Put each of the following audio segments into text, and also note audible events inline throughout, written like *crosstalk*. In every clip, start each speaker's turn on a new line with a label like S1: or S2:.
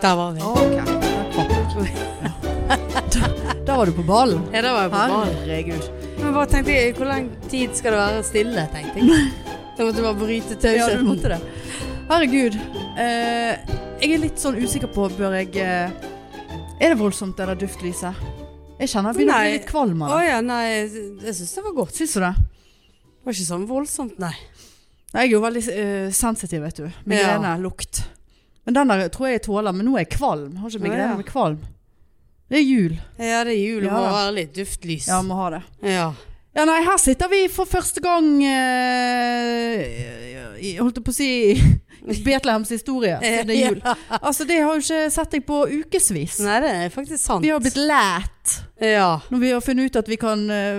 S1: *laughs* var du på ballen.
S2: Ja, da var jeg på ball.
S1: Herregud.
S2: Men bare tenkte jeg, hvor lang tid skal det være stille, tenkte jeg. Da måtte jeg bare bryte
S1: Ja, du
S2: tausheten.
S1: måtte det. Herregud. Eh, jeg er litt sånn usikker på Bør jeg eh, Er det voldsomt, det der duftlyset? Jeg kjenner jeg begynner å
S2: Nei.
S1: bli litt kvalm av
S2: Å
S1: det.
S2: ja, nei, jeg syns det var godt.
S1: Syns du det?
S2: Det var ikke sånn voldsomt, nei.
S1: Nei, Jeg er jo veldig eh, sensitiv, vet du. Migrene, lukt. Men den der tror jeg jeg tåler, men nå er jeg kvalm. Har ikke
S2: Å,
S1: migrene,
S2: ja.
S1: men kvalm. Det er jul.
S2: Ja, det er jul, det
S1: Ja,
S2: må
S1: da.
S2: være litt duftlys.
S1: Ja, må ha det.
S2: Ja.
S1: Ja, nei, her sitter vi for første gang eh, i- Holdt jeg på å si *laughs* i Betlehems historie. siden Det er
S2: *laughs*
S1: jul. Altså, det har jo ikke sett deg på ukevis.
S2: Nei, det er faktisk sant.
S1: Vi har blitt lært
S2: Ja.
S1: når vi har funnet ut at vi kan eh,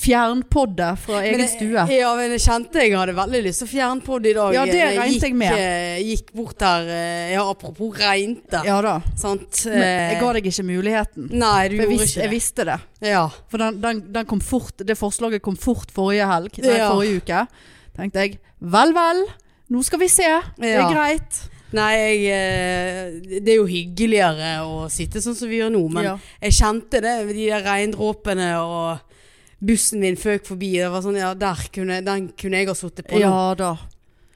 S1: fjernpodde fra
S2: Men
S1: egen
S2: jeg-
S1: stue.
S2: Ja, men jeg kjente jeg hadde veldig lyst til å fjerne på det i dag.
S1: Ja, det
S2: Jeg
S1: regnet
S2: gikk,
S1: jeg med.
S2: eh, Gikk bort der, eh, ja, apropos regnte.
S1: Ja da.
S2: Sant?
S1: Men jeg
S2: Eh,
S1: ga deg ikke muligheten.
S2: Nei, du
S1: For jeg,
S2: gjorde
S1: vis,
S2: ikke det.
S1: jeg visste det.
S2: Ja.
S1: For den, den, den kom fort, det forslaget kom fort forrige helg. Nei,
S2: Ja.
S1: forrige uke. Tenkte jeg vel, vel. Nå skal vi se. Det
S2: Ja.
S1: er greit.
S2: Nei, jeg, eh, det er jo hyggeligere å sitte sånn som vi gjør nå, men
S1: Ja.
S2: jeg kjente det, de der regndråpene og bussen min føk forbi. Det var sånn, ja, der kunne, den kunne jeg ha sittet på nå.
S1: ja da.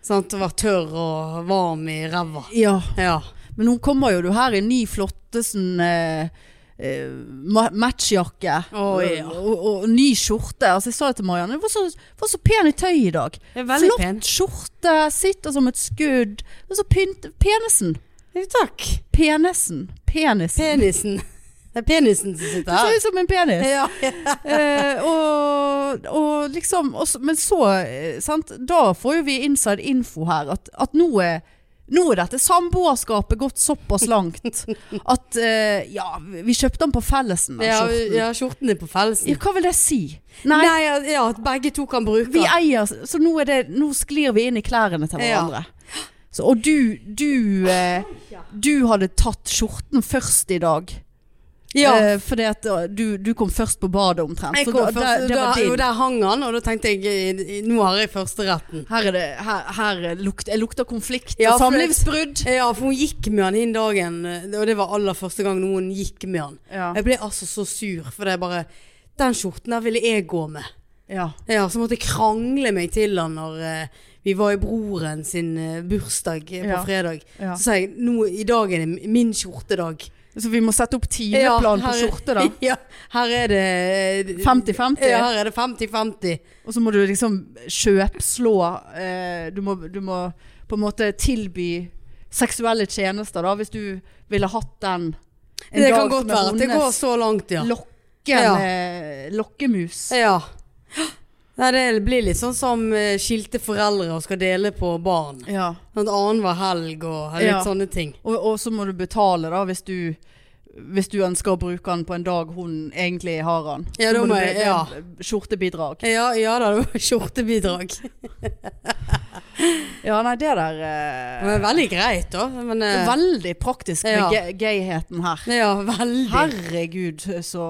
S2: Sant? Og vært tørr og varm i ræva.
S1: Ja.
S2: Ja.
S1: Men nå kommer jo du her i ny flottesen eh, eh, ma- matchjakke.
S2: Å, ja.
S1: og, og, og ny skjorte. Altså, jeg sa det til Marianne, du var så, var så pen i tøy i dag.
S2: Det er
S1: Flott skjorte, sitter som et skudd. Du er så pynt... Penisen.
S2: Jo, takk.
S1: Penisen. Penisen.
S2: Penisen. Det er penisen som sitter
S1: Du ser
S2: her.
S1: ut som en penis.
S2: Ja.
S1: Eh, og, og liksom og så- Men så, eh, sant Da får jo vi inside info her At, at nå, er, nå er dette samboerskapet gått såpass langt At, eh, ja, vi kjøpte den på fellesen den
S2: Ja,
S1: skjorten.
S2: ja, skjorten er på
S1: ja,
S2: felsen.
S1: Hva vil det si? Nei,
S2: ja, ja, at begge to kan bruke
S1: vi
S2: den.
S1: eier Så nå, er det, nå sklir vi inn i klærne til
S2: Ja.
S1: hverandre så, Og du, du, eh, du hadde tatt skjorten først i dag
S2: Ja.
S1: eh, Fordi at eh, du, du kom først på badet omtrent
S2: Jeg
S1: så
S2: kom
S1: da-
S2: først,
S1: det- det var
S2: da,
S1: din.
S2: jo, der hang han, og da tenkte jeg eh, Nå har jeg førsteretten.
S1: Her, er det, her, her lukter, jeg lukter konflikt
S2: Ja,
S1: og
S2: for-
S1: samlivsbrudd.
S2: Ja, for hun gikk med han den dagen, eh, og det var aller første gang noen gikk med han.
S1: Ja.
S2: Jeg ble altså så sur, for det er bare Den skjorten der ville jeg gå med.
S1: Ja.
S2: Ja, så måtte jeg krangle meg til han når eh, vi var i broren sin eh, bursdag eh, på
S1: Ja.
S2: fredag.
S1: Ja.
S2: Så sa jeg nå i dag er det min skjortedag.
S1: Så vi må sette opp timeplan på
S2: her-
S1: skjorte, da.
S2: *laughs* Ja, her er det eh,
S1: 50-50.
S2: Ja, her er det 50-50.
S1: Og så må du liksom kjøpslå eh, du, må, du må på en måte tilby seksuelle tjenester, da, hvis du ville hatt den en
S2: Det
S1: dag
S2: kan godt
S1: som er
S2: være at det går
S1: hennes
S2: så langt, ja.
S1: lokkende lokkemus.
S2: Ja. Nei, det blir litt sånn som eh, skilte foreldre og skal dele på barn.
S1: Ja.
S2: Sånn annenhver helg og litt
S1: Ja.
S2: sånne ting.
S1: Og, og så må du betale, da, hvis du hvis du ønsker å bruke den på en dag hun egentlig har den.
S2: Ja,
S1: Så
S2: da
S1: du
S2: må jeg-
S1: be- det er
S2: ja.
S1: Skjortebidrag.
S2: Ja, ja da, det var skjortebidrag.
S1: Ja, nei, det der eh,
S2: Men veldig greit, da. Men,
S1: Det er
S2: eh,
S1: Veldig praktisk med
S2: Ja.
S1: ge- gayheten her.
S2: ja, veldig.
S1: Herregud, så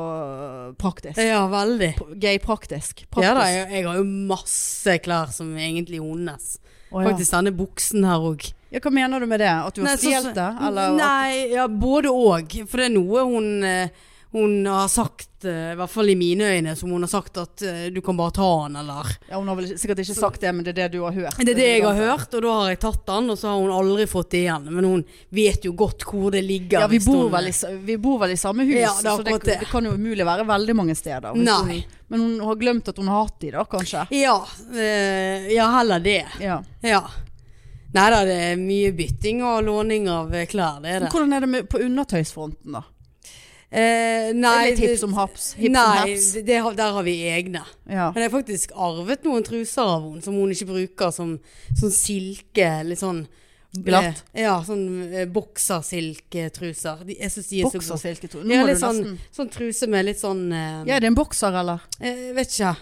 S1: praktisk.
S2: Ja, veldig.
S1: P- Gay-praktisk. Praktisk.
S2: Ja da, jeg, jeg har jo masse klær som er egentlig er hennes.
S1: Å, ja.
S2: Faktisk denne buksen her òg.
S1: ja, hva mener du med det? At du har
S2: Nei, så-
S1: stjålet det? Eller at-
S2: Nei, ja, både òg. For det er noe hun, eh, hun har sagt, eh, i hvert fall i mine øyne, som hun har sagt at eh, du kan bare ta den, eller
S1: ja, hun har vel sikkert ikke sagt det, men det er det du har hørt.
S2: Det er det jeg har hørt, og da har jeg tatt den, og så har hun aldri fått det igjen. Men hun vet jo godt hvor det ligger.
S1: Ja, vi
S2: hvis
S1: bor,
S2: hun-
S1: vel i, s- vi bor vel i samme hus,
S2: Ja, det er
S1: så det,
S2: akkurat det.
S1: det kan jo umulig være veldig mange steder. hvis
S2: Nei.
S1: Hun, men hun har glemt at hun har hatt de, da, kanskje.
S2: Ja, eh, ja, heller det.
S1: Ja.
S2: Ja. Nei da, det er mye bytting og låning av eh, klær, det er
S1: Men
S2: det.
S1: hvordan er det med, på undertøysfronten, da?
S2: Eh, nei,
S1: Litt hipp som haps? Hipp som
S2: nei
S1: haps?
S2: det, det har- der har vi egne.
S1: Ja.
S2: Men jeg har faktisk arvet noen truser av henne som hun ikke bruker, som sånn silke, litt sånn
S1: Glatt?
S2: Eh, ja, sånn eh, boksersilketruser. De- Jeg syns de er så gode.
S1: Boksersilke, tror jeg.
S2: Ja,
S1: Nå må
S2: litt
S1: du nesten
S2: sånn, sånn truse med litt sånn eh,
S1: Ja, er det en bokser, eller?
S2: Eh, vet ikke.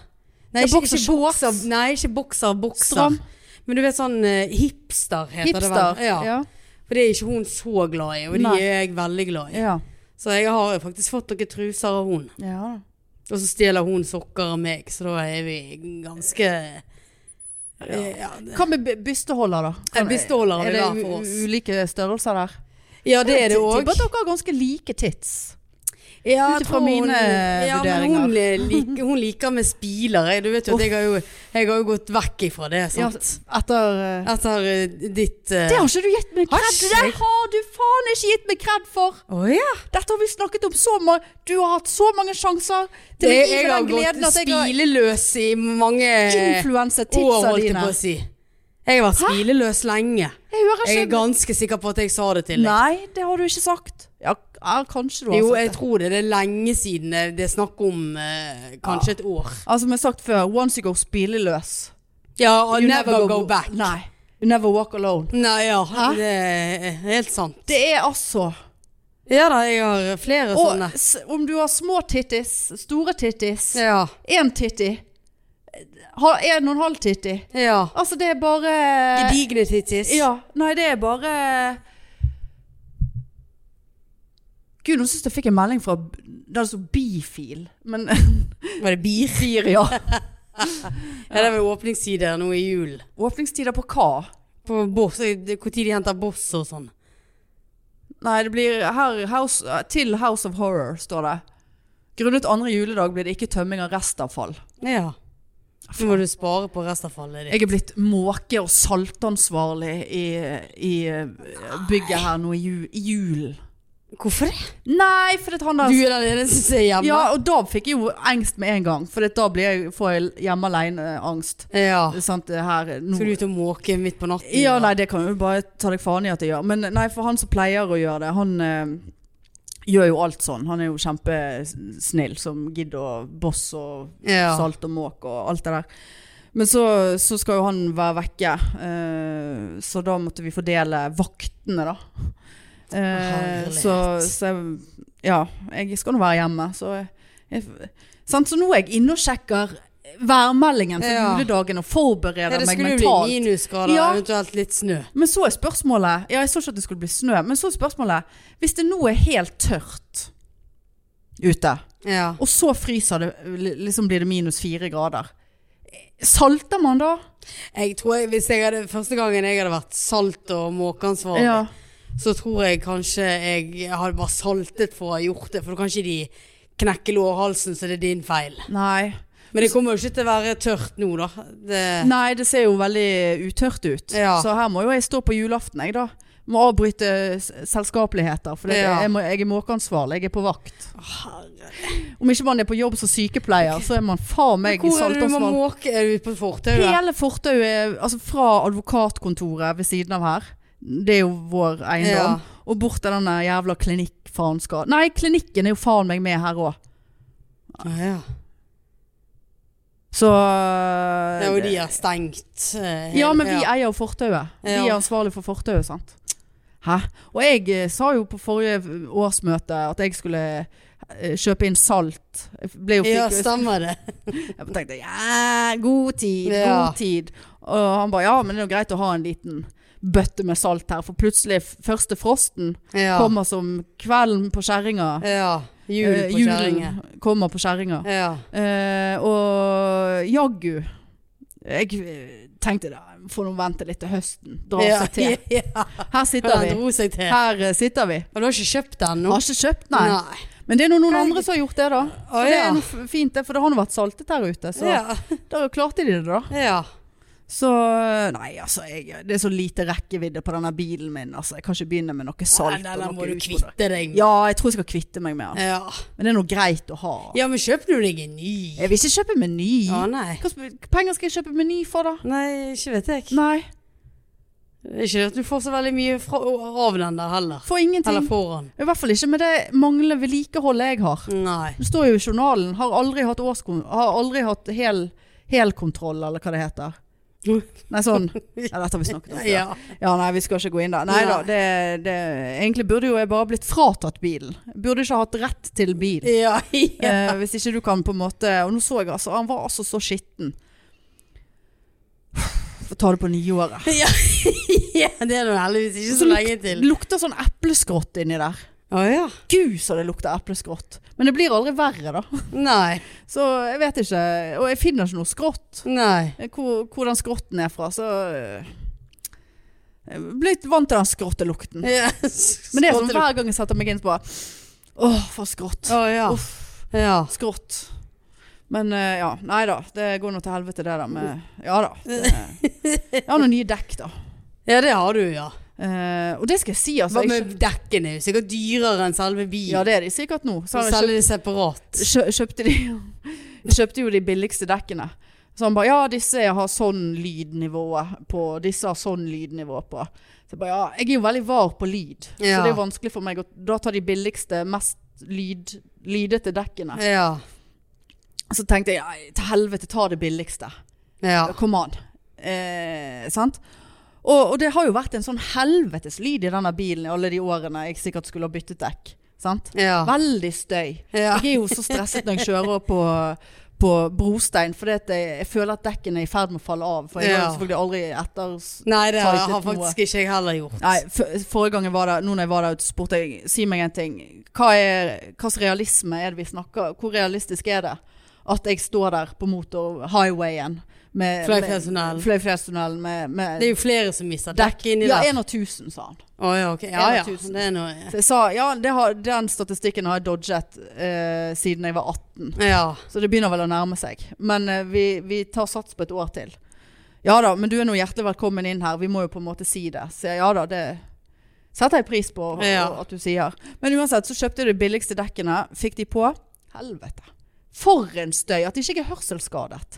S2: Nei,
S1: Ja,
S2: ikke,
S1: bokser-
S2: ikke bokser. Nei, ikke bokser, bokser.
S1: Stram.
S2: Men du vet sånn eh, hipster heter det
S1: Hipster.
S2: vel? Ja. For det er ikke hun så glad i, og de
S1: Nei.
S2: er jeg veldig glad i.
S1: ja.
S2: Så jeg har faktisk fått noen truser av hun.
S1: ja.
S2: Og så stjeler hun sokker av meg, så da er vi ganske Eh, ja, det-
S1: Hva med by- bysteholder, da? Kan-
S2: Eh, bysteholder har
S1: er
S2: vi
S1: det
S2: hver for
S1: u-
S2: oss.
S1: ulike størrelser der?
S2: ja, det er det
S1: Jeg tipper
S2: òg.
S1: at dere har ganske like tits.
S2: Ja, jeg
S1: Ut ifra
S2: tror hun-
S1: mine
S2: ja,
S1: vurderinger.
S2: Men hun, eh, lik, hun liker meg spiler. Jeg- Du vet jo at jeg har jo, jeg har jo gått vekk ifra det,
S1: Ja,
S2: sant.
S1: etter eh,
S2: Etter eh, ditt eh,
S1: Det har ikke du gitt meg
S2: Har
S1: kred
S2: ikke
S1: Det
S2: jeg?
S1: har du faen ikke gitt meg kred for!
S2: Å ja.
S1: Dette har vi snakket om så mange Du har hatt så mange sjanser til å
S2: Jeg,
S1: gi
S2: jeg
S1: meg
S2: har
S1: den gleden
S2: gått
S1: at jeg har
S2: spileløs i mange år,
S1: influenset tipsa
S2: holdt jeg
S1: dine.
S2: på å si. Jeg har vært spileløs lenge.
S1: Jeg hører
S2: Jeg er
S1: ikke
S2: ganske sikker på at jeg sa det til deg.
S1: Nei, det har du ikke sagt. Ja, ja kanskje du har
S2: Jo, jeg
S1: sagt det.
S2: tror det. Det er lenge siden. eh, Det er snakk om eh, kanskje et år.
S1: Altså, som jeg har sagt før, once you go spilleløs
S2: Ja,
S1: you
S2: never, go, back.
S1: Nei. You never walk alone.
S2: Nei, ja.
S1: Hæ?
S2: Det er helt sant.
S1: Det er altså
S2: Ja da, jeg har flere
S1: Og
S2: sånne.
S1: s- om du har små tittis, store tittis,
S2: Ja.
S1: én titti, ha- en og en halv titti
S2: ja.
S1: Altså, det er bare
S2: Gedigne tittis.
S1: Ja, nei det er bare Gud, nå synes jeg jeg fikk en melding fra Det stod bifil Men *laughs*
S2: Var det bier?
S1: bier, ja
S2: Ja, det er vel åpningstider nå i jul.
S1: Åpningstider på hva?
S2: På boss, det- hvor tid de henter boss og sånn.
S1: Nei, det blir her, house, eh, Til House of Horror står det Grunnet andre juledag blir det ikke tømming av restavfall
S2: Ja. Nå må du spare på restavfallet ditt.
S1: Jeg er blitt måke- og saltansvarlig i, i eh, bygget her nå i ju- i julen
S2: Hvorfor det?
S1: Nei, for det han der
S2: Du er den eneste som er hjemme.
S1: Ja, og da fikk jeg jo engst med en gang, for da blir jeg, får jeg hjemme alene-angst.
S2: Ja.
S1: Sant, det her eh, nå.
S2: Skal du ut og måke midt på natten?
S1: Ja,
S2: da?
S1: nei, det kan jo bare ta deg faen i at jeg gjør. Men nei, for han som pleier å gjøre det, han eh, gjør jo alt sånn. Han er jo kjempesnill som gidder å boss og
S2: Ja.
S1: salt og måk og alt det der. Men så, så skal jo han være vekke, eh, så da måtte vi fordele vaktene, da. Eh,
S2: Herlighet.
S1: så, så jeg, ja, jeg skal nå være hjemme. Så, jeg, sant? så nå er jeg inne og sjekker værmeldingen for
S2: Ja.
S1: juledagen og forbereder
S2: Ja, det
S1: meg
S2: skulle jo bli
S1: mentalt.
S2: minusgrader,
S1: Ja.
S2: eventuelt litt snø.
S1: Men så er spørsmålet Ja, jeg så ikke at det skulle bli snø, men så er spørsmålet Hvis det nå er helt tørt ute,
S2: Ja.
S1: og så fryser det, li- liksom blir det minus fire grader Salter man da?
S2: Jeg tror jeg, hvis jeg hadde, Første gangen jeg hadde vært salt- og måkeansvarlig,
S1: Ja.
S2: så tror jeg kanskje jeg hadde bare saltet for å ha gjort det. For da kan ikke de knekke lårhalsen, så det er din feil.
S1: Nei.
S2: Men det kommer jo ikke til å være tørt nå, da. Det,
S1: Nei, det ser jo veldig utørt ut.
S2: Ja.
S1: Så her må jo jeg stå på julaften, jeg da. Må avbryte s- selskapeligheter, for det,
S2: Ja.
S1: jeg, må, jeg er måkeansvarlig, jeg er på vakt.
S2: Herre.
S1: Om ikke man er på jobb som sykepleier, så er man faen meg
S2: Hvor er det du må
S1: saltansvarlig.
S2: måke? Er du ute på fortauet?
S1: Hele fortauet, er- altså fra advokatkontoret ved siden av her, det er jo vår eiendom,
S2: Ja.
S1: og bort til denne jævla klinikkfaenskap. Nei, klinikken er jo faen meg med her òg.
S2: Ah, ja.
S1: Så
S2: Ja, og de er stengt. eh,
S1: Ja, men vi
S2: ja.
S1: eier jo fortauet. Vi er
S2: Ja.
S1: ansvarlig for fortauet, sant. Hæ? Og jeg eh, sa jo på forrige årsmøte at jeg skulle eh, kjøpe inn salt. Jeg ble jo
S2: Ja,
S1: fikk-
S2: stemmer det.
S1: Jeg tenkte ja, god tid,
S2: Ja.
S1: god tid. Og han bare ja, men det er jo greit å ha en liten bøtte med salt her, for plutselig f- første frosten
S2: Ja.
S1: kommer som kvelden på kjerringa.
S2: ja. Jul
S1: Eh,
S2: på
S1: julen
S2: kjerringa.
S1: kommer på kjerringa.
S2: Ja.
S1: Eh, og jaggu Jeg eh, tenkte da, får nå vente litt til høsten. Dra
S2: Ja,
S1: seg til.
S2: *laughs* ja.
S1: Her sitter
S2: Den
S1: vi.
S2: dro seg til.
S1: Her eh, sitter vi.
S2: Og du har ikke kjøpt den nå?
S1: Har ikke kjøpt, nei. Men det er nå noen andre som har gjort det, da. Så
S2: Å,
S1: det
S2: ja.
S1: er noe f- fint, det, for det har nå vært saltet her ute. Så
S2: Ja.
S1: da klarte de det, da.
S2: ja.
S1: Så Nei, altså, jeg, det er så lite rekkevidde på denne bilen min. Altså, jeg kan ikke begynne med noe
S2: Nei,
S1: salt.
S2: den
S1: og
S2: må
S1: noe
S2: du
S1: ut på det.
S2: kvitte deg med.
S1: Ja, jeg tror jeg skal kvitte meg med den.
S2: Ja.
S1: Men det er noe greit å ha.
S2: ja, men kjøper du deg en ny?
S1: Jeg vil ikke kjøpe meny.
S2: Ja, nei.
S1: Hva sp- penger skal jeg kjøpe meny for, da?
S2: Nei, ikke vet jeg.
S1: Nei,
S2: Ikke det at du får så veldig mye fra, av den der heller.
S1: for
S2: Eller
S1: ingenting.
S2: foran.
S1: I hvert fall ikke med det manglende vedlikeholdet jeg har.
S2: Nei.
S1: Det står jo i journalen. Har aldri hatt, årskon- har aldri hatt hel, helkontroll, eller hva det heter. Nei,
S2: *laughs*
S1: sånn. Ja, dette har vi snakket om før.
S2: Ja.
S1: Ja, nei, vi skal ikke gå inn der. Nei da, det, det, egentlig burde jo jeg bare blitt fratatt bilen. Burde ikke hatt rett til bil.
S2: Ja, *laughs* ja.
S1: Eh, hvis ikke du kan på en måte Og nå så jeg altså, han var altså så skitten. Få ta det på nyåret.
S2: ja det er nå heldigvis ikke
S1: Så
S2: så
S1: luk-
S2: lenge til.
S1: Lukter sånn epleskrott inni der.
S2: Å ja.
S1: Gud, så det lukter epleskrott. Men det blir aldri verre, da.
S2: Nei.
S1: Så jeg vet ikke. Og jeg finner ikke noe skrått.
S2: Nei.
S1: Eh, Hvor, hvor den skrotten er fra, så eh, jeg er Blitt vant til den skrottelukten.
S2: Ja. *laughs*
S1: sånn Men det er sånn hver gang jeg setter meg inn på Åh, for skrått.
S2: Å ja.
S1: Uff,
S2: ja.
S1: skrått. Men eh, ja, nei da. Det går nå til helvete, det der med Ja da.
S2: *laughs*
S1: Det, jeg har noen nye dekk, da.
S2: Ja, det har du, ja.
S1: Eh, og det skal jeg si,
S2: Hva
S1: altså. Jeg,
S2: med dekkene? Det er jo Sikkert dyrere enn selve
S1: kjøp-
S2: bilen.
S1: ja, det er de sikkert nå. Så
S2: Så
S1: har jeg kjøpt
S2: selger de separat.
S1: kjø- kjøpte de *laughs* Kjøpte jo de billigste dekkene. Så han bare ja, disse har sånn lydnivå på. Disse har sånn lydnivå på. Så jeg bare ja, jeg er jo veldig var på lyd. Så
S2: Ja.
S1: det er jo vanskelig for meg å Da tar de billigste, mest lyd, lydete dekkene.
S2: Ja.
S1: Så tenkte jeg ja, til helvete, ta det billigste.
S2: Ja.
S1: Kom an. Eh, sant? Og, og det har jo vært en sånn helvetes lyd i denne bilen i alle de årene jeg sikkert skulle ha byttet dekk. Sant?
S2: Ja.
S1: Veldig støy.
S2: ja.
S1: Jeg er jo så stresset når jeg kjører på, på brostein, fordi at jeg, jeg føler at dekken er i ferd med å falle av. For jeg har
S2: Ja.
S1: jo selvfølgelig aldri etter...
S2: Nei, det har,
S1: Tightet
S2: har faktisk ikke jeg heller gjort.
S1: Nei, f- forrige gang jeg var der, nå når jeg var der ute, spurte jeg, si meg en ting, hva er, hva slags realisme er det vi snakker, hvor realistisk er det at jeg står der på motor-highwayen med...
S2: Fløyfjellstunnelen.
S1: med- Fløyfjellstunnelen med... med
S2: Det er jo flere som mister dekk inni
S1: ja,
S2: der.
S1: 1 av 1000, sa han.
S2: Å ja, ok. Ja ja.
S1: 1000.
S2: Det er noe
S1: Så jeg sa, ja, det har, den statistikken har jeg dodget eh, siden jeg var 18.
S2: Ja.
S1: Så det begynner vel å nærme seg. Men eh, vi, vi tar sats på et år til. Ja da, men du er nå hjertelig velkommen inn her. Vi må jo på en måte si det. Så jeg, ja da, det setter jeg pris på
S2: Ja.
S1: og- at du sier. Men uansett, så kjøpte jeg de billigste dekkene. Fikk de på. Helvete. For en støy! At ikke jeg er hørselsskadet.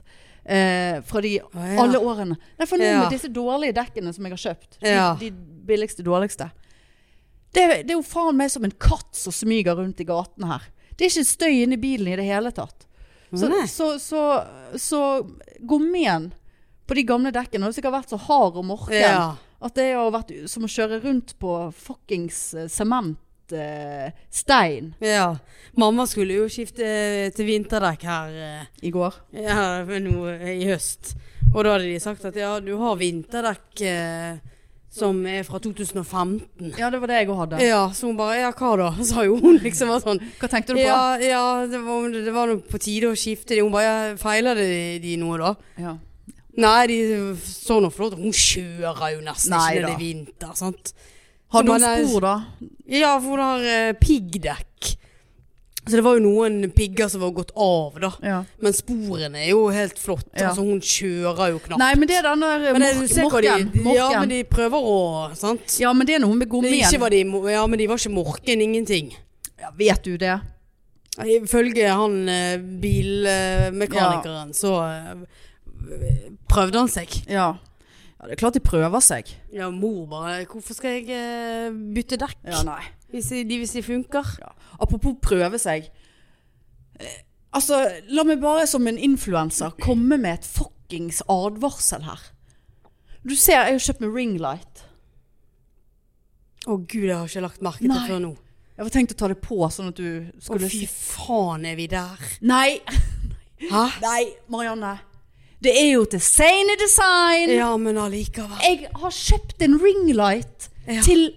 S1: Eh, fra de
S2: Å, ja.
S1: alle årene. Nei, for nå
S2: Ja.
S1: med disse dårlige dekkene som jeg har kjøpt.
S2: Ja.
S1: De, de billigste, dårligste. Det, det er jo faen meg som en katt som smyger rundt i gatene her. Det er ikke støy inni bilen i det hele tatt. Så,
S2: Nei.
S1: så, så, så gummien på de gamle dekkene har jo sikkert vært så hard og morken
S2: Ja.
S1: at det har vært som å kjøre rundt på fuckings eh, sement eh, stein
S2: ja. Mamma skulle jo skifte eh, til vinterdekk her eh,
S1: i går.
S2: ja, nå eh, i høst. Og da hadde de sagt at ja, du har vinterdekk eh, som er fra 2015.
S1: Ja, det var det jeg òg hadde.
S2: Ja, så hun bare ja, hva da? *laughs* sa jo hun liksom var sånn.
S1: Hva tenkte du på?
S2: Ja, ja det var, det var nok på tide å skifte de. Hun bare ja, feiler de, de noe da?
S1: Ja.
S2: Nei, de så nå flott. Hun kjører jo nesten
S1: Nei
S2: ikke når det
S1: da.
S2: er vinter, sant?
S1: Hadde
S2: Så
S1: hun
S2: bare,
S1: spor, da?
S2: Ja, for hun har eh, piggdekk. Så det var jo noen pigger som var gått av, da.
S1: Ja.
S2: Men sporene er jo helt flott.
S1: Ja.
S2: Altså, hun kjører jo knapt.
S1: Nei, men det er eh, den der
S2: men det,
S1: mork-
S2: du ser hva
S1: morken.
S2: de, ja,
S1: morken.
S2: men de prøver å Sant?
S1: Ja, men det er noe med
S2: Men
S1: gummien.
S2: ikke var de, mo- ja, men de var ikke morken, ingenting.
S1: Ja, vet du det?
S2: Ifølge han eh, bilmekanikeren, så eh, prøvde han seg.
S1: Ja. ja. Det er klart de prøver seg.
S2: Ja, mor bare 'Hvorfor skal jeg eh, bytte dekk
S1: Ja, nei.
S2: hvis, de, hvis de funker?'
S1: Apropos prøve seg. Eh, Altså, la meg bare som en influenser komme med et fuckings advarsel her. Du ser, jeg har kjøpt meg ringlight.
S2: Å gud, jeg har ikke lagt merke til det
S1: Nei.
S2: før nå.
S1: Jeg var tenkt å ta det på, sånn at du
S2: Å
S1: skulle
S2: fy faen, er vi der?
S1: si Nei!
S2: Hæ?
S1: Nei, Marianne. Det er jo til sane design.
S2: Ja, men allikevel.
S1: Jeg har kjøpt en ringlight
S2: Ja.
S1: til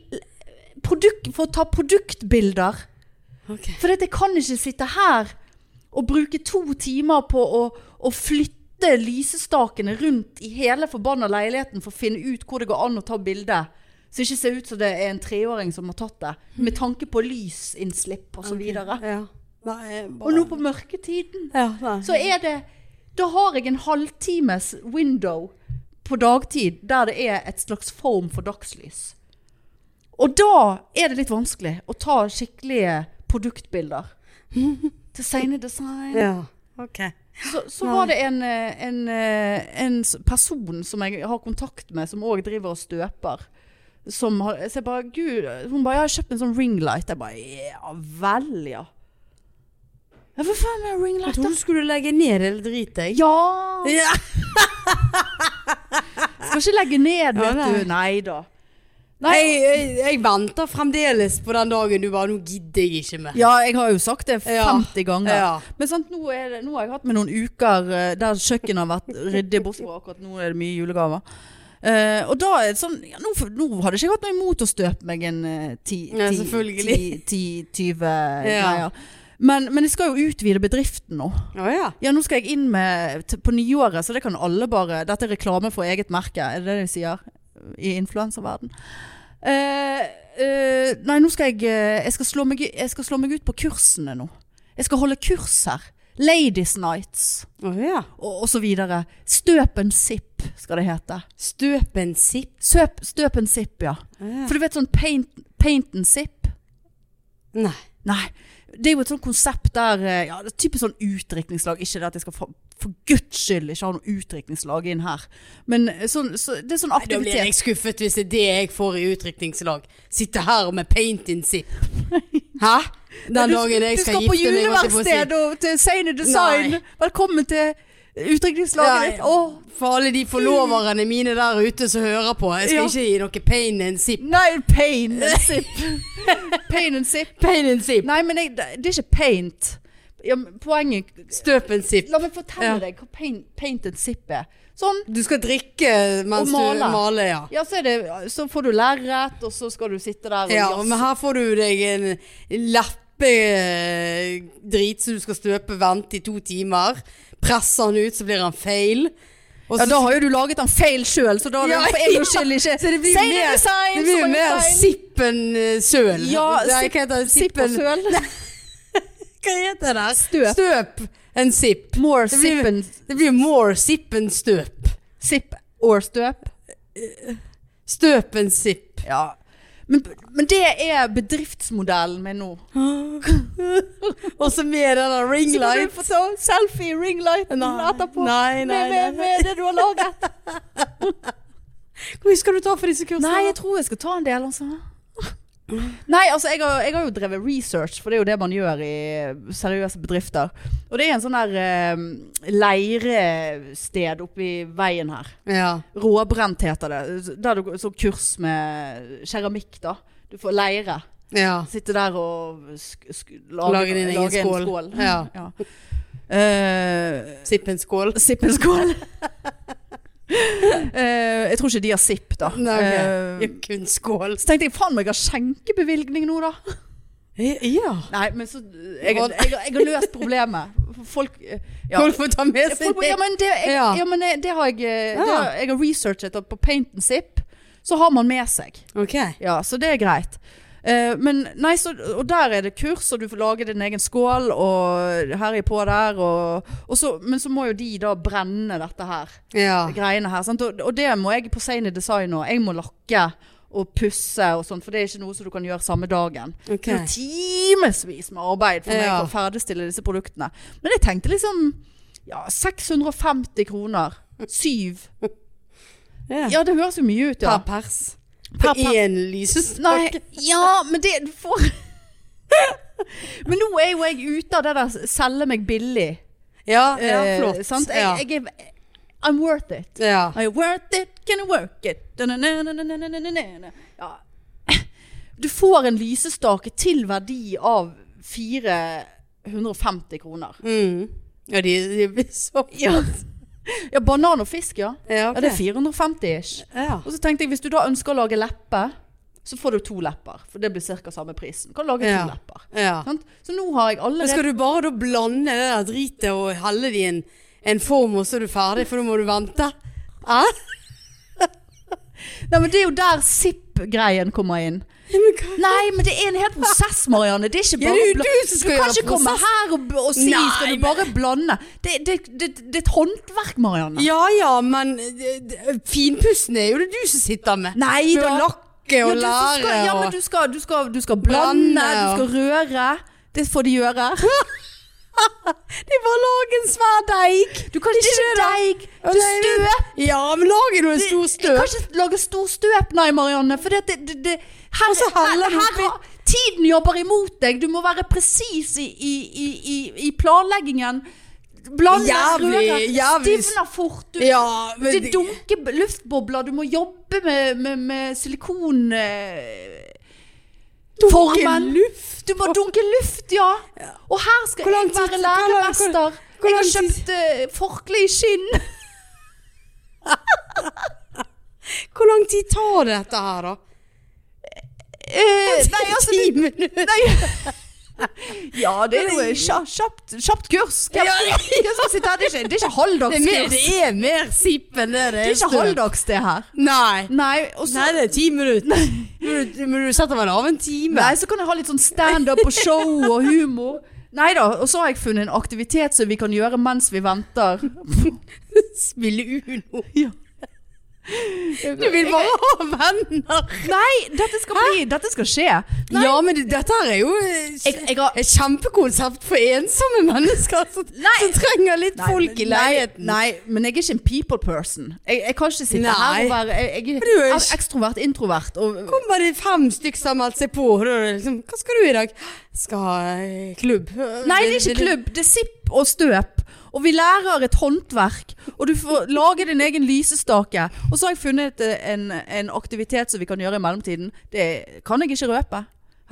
S1: produkt, for å ta produktbilder.
S2: Ok.
S1: For jeg kan ikke sitte her og bruke to timer på å, å flytte lysestakene rundt i hele forbanna leiligheten for å finne ut hvor det går an å ta bilde. Så det ikke ser ut som det er en treåring som har tatt det. Med tanke på lysinnslipp osv. Og, okay.
S2: Ja. Nei, jeg bare...
S1: og nå på mørketiden
S2: Ja, nei.
S1: så er det Da har jeg en halvtimes window på dagtid der det er et slags form for dagslys. Og da er det litt vanskelig å ta skikkelige produktbilder. Til sene design.
S2: Ja, ok.
S1: Så, så var det en, eh, en, eh, en s- person som jeg har kontakt med, som òg driver og støper. Som har, så jeg bare Gud Hun bare 'Jeg har kjøpt en sånn ringlight'. Jeg bare 'Ja vel, ja'. Ja, Hva faen er
S2: Jeg
S1: ringlight, da?
S2: trodde du skulle legge ned hele dritet, jeg.
S1: Ja!
S2: Ja.
S1: Skal ikke legge ned, vet
S2: Ja, nei.
S1: du. Nei da.
S2: Nei, jeg, jeg venter fremdeles på den dagen du bare 'Nå gidder jeg ikke mer'.
S1: Ja, jeg har jo sagt det
S2: Ja.
S1: 50 ganger.
S2: Ja.
S1: Men sant, nå, er det, nå har jeg hatt med noen uker eh, der kjøkkenet har vært ryddig, bortsett fra akkurat nå er det mye julegaver. Eh, og da er det sånn ja, nå, f- nå hadde ikke jeg hatt noe imot å støpe meg en eh, ti-
S2: Ja,
S1: ti-
S2: selvfølgelig.
S1: ti- ti- 20
S2: *laughs* Ja.
S1: greier. Men, men jeg skal jo utvide bedriften nå.
S2: Å ja.
S1: Ja, nå skal jeg inn med t på nyåret, så det kan alle bare Dette er reklame for eget merke, er det det de sier i influenserverden? Eh, eh, nei, nå skal jeg, eh, jeg, skal slå meg, u- jeg skal slå meg ut på kursene nå. Jeg skal holde kurs her. Ladies Nights
S2: Å ja.
S1: og, og så videre. Støp en sipp, skal det hete.
S2: Støp en sipp.
S1: Søp, støp en sipp, ja. For du vet sånn paint, paint and sipp?
S2: Nei.
S1: Nei. Det er jo et sånt konsept der eh, ja, det er Typisk sånn utdrikningslag. Ikke det at jeg skal for, for guds skyld ikke ha noe utdrikningslag inn her. Men eh, sånn, så, det er sånn
S2: Da blir jeg
S1: aktivitet.
S2: skuffet hvis det er det jeg får i utrykningslag. Sitte her med paint in sipp. Hæ? Den
S1: Du-
S2: dagen jeg
S1: du
S2: skal
S1: skal
S2: gifte meg. holdt jeg på
S1: på
S2: å si.
S1: juleverksted og til Seine Design.
S2: Nei.
S1: Velkommen til utdrikningslaget
S2: Nei.
S1: ditt. Åh,
S2: For alle de forloverne mine der ute som hører på. Jeg skal
S1: Ja.
S2: ikke gi noe pain and sip.
S1: nei, pain and
S2: *laughs*
S1: sip. pain and sip.
S2: Pain and sip.
S1: Nei, men jeg, det er ikke paint. Ja, men poenget
S2: Støp en sip.
S1: La meg fortelle
S2: Ja.
S1: deg hva paint, paint and sip er. Sånn.
S2: Du skal drikke mens
S1: Og male.
S2: du maler, ja.
S1: Ja, så, er det, så får du lerret, og så skal du sitte der og
S2: ja.
S1: jazze.
S2: Men her får du deg en leppedrit som du skal støpe, vente i to timer. Presser den ut, så blir han feil. Og
S1: Ja,
S2: så-
S1: da har jo du laget den feil sjøl, så da er det
S2: Ja,
S1: for en gangs skyld ikke
S2: Så det blir jo
S1: Seine
S2: mer,
S1: Design
S2: det blir jo
S1: som en
S2: mer
S1: design.
S2: sipp enn eh, søl.
S1: Ja,
S2: Nei,
S1: sipp-
S2: hva heter det?
S1: Sipp og
S2: Sippen-
S1: søl. *laughs*
S2: Hva heter det?
S1: Støp.
S2: Støp en sipp.
S1: More
S2: Det blir-
S1: sip and
S2: Det blir more sipp enn støp.
S1: Sipp or støp.
S2: Støp en sipp.
S1: Ja. Men, men det er bedriftsmodellen min nå.
S2: Og så med den der ring
S1: Så kan du
S2: light.
S1: få ta selfie i ringlighten
S2: Nei.
S1: etterpå.
S2: Nei, nei,
S1: med, med,
S2: nei.
S1: med det du har *laughs* laget.
S2: Hvor mye skal du ta for disse kursene?
S1: Nei, jeg tror jeg skal ta en del, altså. Nei, altså jeg har, jeg har jo drevet research, for det er jo det man gjør i seriøse bedrifter. Og det er en sånn der eh, leirested oppi veien her.
S2: ja.
S1: Råbrent heter det. Der du går- så kurs med keramikk, da. Du får leire.
S2: ja.
S1: Sitte der og sk sk lage,
S2: Lage din egen
S1: lage en
S2: skål.
S1: skål. Mm,
S2: Ja.
S1: Ja. Eh,
S2: Sipp en skål.
S1: Sipp en skål. *laughs* Eh, jeg tror ikke de har sipp, da.
S2: Nei, ok.
S1: Eh,
S2: Ja, kun skål.
S1: så tenkte jeg faen meg, jeg har skjenkebevilgning nå, da.
S2: Ja.
S1: Nei, men så Jeg, jeg, jeg, har løst problemet. Folk eh, ja.
S2: Folk får ta med seg
S1: Folk, ja, men det, jeg,
S2: Ja.
S1: ja, men det har jeg eh, det
S2: Ja.
S1: har, Jeg har researchet at på Paint and Zip så har man med seg.
S2: Ok.
S1: Ja, så det er greit. Eh, men nei, så, og der er det kurs, og du får lage din egen skål, og herje på der, og, og så, Men så må jo de da brenne dette her
S2: Ja.
S1: greiene her. Sant? Og, og det må jeg på Seine Design nå. Jeg må lakke og pusse og sånn, for det er ikke noe som du kan gjøre samme dagen.
S2: Ok.
S1: Det er jo timevis med arbeid for meg
S2: Ja.
S1: for å ferdigstille disse produktene. Men jeg tenkte liksom ja, 650 kroner. Syv.
S2: Ja.
S1: Ja, det høres jo mye ut, ja.
S2: Per pers. På
S1: Per pers.
S2: én lysestake.
S1: Nei, ja, men det du får *laughs* Men nå er jo jeg ute av det der selge meg billig.
S2: Ja, ja,
S1: eh,
S2: flott.
S1: sant?
S2: ja.
S1: Jeg, jeg er I'm worth it.
S2: ja.
S1: Are you worth it? Can you work it? Da-na-na-na-na-na-na-na-na. Ja. *laughs* Du får en lysestake til verdi av 450 kroner.
S2: Mm. Ja, de, de blir så *laughs*
S1: Ja. ja, banan og fisk, ja.
S2: Ja,
S1: Ja, det er 450 ish.
S2: Ja.
S1: Og så tenkte jeg, hvis du da ønsker å lage leppe, så får du to lepper. For det blir ca. samme prisen. Kan lage
S2: Ja.
S1: to lepper.
S2: ja.
S1: Sant? Så nå har jeg
S2: Men
S1: allerede
S2: skal du bare da blande det der dritet og helle det i en, en form, og så er du ferdig, for da må du vente? Hæ?
S1: Nei, men det er jo der SIP-greien kommer inn.
S2: Ja, men hva-
S1: Nei, men det er en hel prosess, Marianne. Det er ikke
S2: Ja,
S1: bare
S2: det er jo
S1: å bla-
S2: du som skal
S1: kan
S2: gjøre
S1: ikke komme
S2: prosess.
S1: her og, og si
S2: Nei,
S1: skal du
S2: men-
S1: bare blande. Det, det, det, det er et håndverk, Marianne.
S2: Ja ja, men eh, d- finpussen er jo det du som sitter med.
S1: Nei
S2: Med å
S1: da.
S2: lakke og
S1: du som
S2: lære
S1: skal, ja, men
S2: og
S1: du skal, du skal, du skal blande,
S2: Blande,
S1: du skal røre. Det får de
S2: *laughs*
S1: gjøre.
S2: Det er bare å lage en svær deig.
S1: Du kan ikke
S2: det, da.
S1: deig.
S2: Ja,
S1: Du
S2: nei, men-
S1: støper.
S2: Ja, men lag nå en stor
S1: Jeg
S2: støp.
S1: kan ikke lage stor støp, nei, Marianne. For det, det, det, det her,
S2: så heller
S1: her,
S2: du
S1: her, har- Tiden jobber imot deg. Du må være presis i, i, i, i, i planleggingen. Blande,
S2: Jævlig,
S1: røre.
S2: jævlig.
S1: Stivner fort. Du,
S2: Ja, men
S1: det dunker b- luftbobler. Du må jobbe med, med, med silikon... eh, Formen.
S2: luft.
S1: Du må dunke luft, ja. Og her skal
S2: Hvor lang
S1: jeg
S2: tid-
S1: være
S2: hvor lang-
S1: læremester.
S2: hvor lang
S1: Jeg har
S2: tid-
S1: kjøpt eh, forkle i skinn.
S2: *laughs* Hvor lang tid tar dette her, da?
S1: Eh, nei, altså,
S2: Ti minutter?
S1: Nei. *laughs* Ja, det er jo eh, kja- kjapt, kjapt kurs. Hvem
S2: *laughs*
S1: hvem som sitter her? Det er ikke, det er ikke
S2: Det er mer,
S1: halvdagskurs.
S2: det er mer sip enn det det er.
S1: Det er ikke
S2: støv.
S1: halvdags, det her.
S2: Nei.
S1: Nei, og så
S2: Nei, det er ti minutter. Men du, men du setter vel av en time?
S1: Nei, så kan jeg ha litt sånn standup og show
S2: *laughs*
S1: og humor. Nei da, og så har jeg funnet en aktivitet som vi kan gjøre mens vi venter.
S2: Spille Uno.
S1: Ja.
S2: Du vil bare ha venner.
S1: Nei, dette skal, bli, dette skal skje. Nei,
S2: Ja, men det, dette her er jo eh,
S1: jeg, jeg har
S2: et kjempekonsept for ensomme mennesker som, som trenger litt folk i leiligheten.
S1: Nei, nei, men jeg er ikke en people person. Jeg, jeg kan ikke sitte
S2: Nei.
S1: her og være Jeg, jeg,
S2: Men du er
S1: er
S2: ikke-
S1: ekstrovert, introvert. Og,
S2: Kommer det fem stykker som har meldt seg på, og da er det liksom Hva skal du i dag? Skal eh, klubb.
S1: nei, det er ikke klubb. Det er sipp og støp. Og vi lærer et håndverk. Og du får lage din egen lysestake. Og så har jeg funnet eh, en, en aktivitet som vi kan gjøre i mellomtiden. Det kan jeg ikke røpe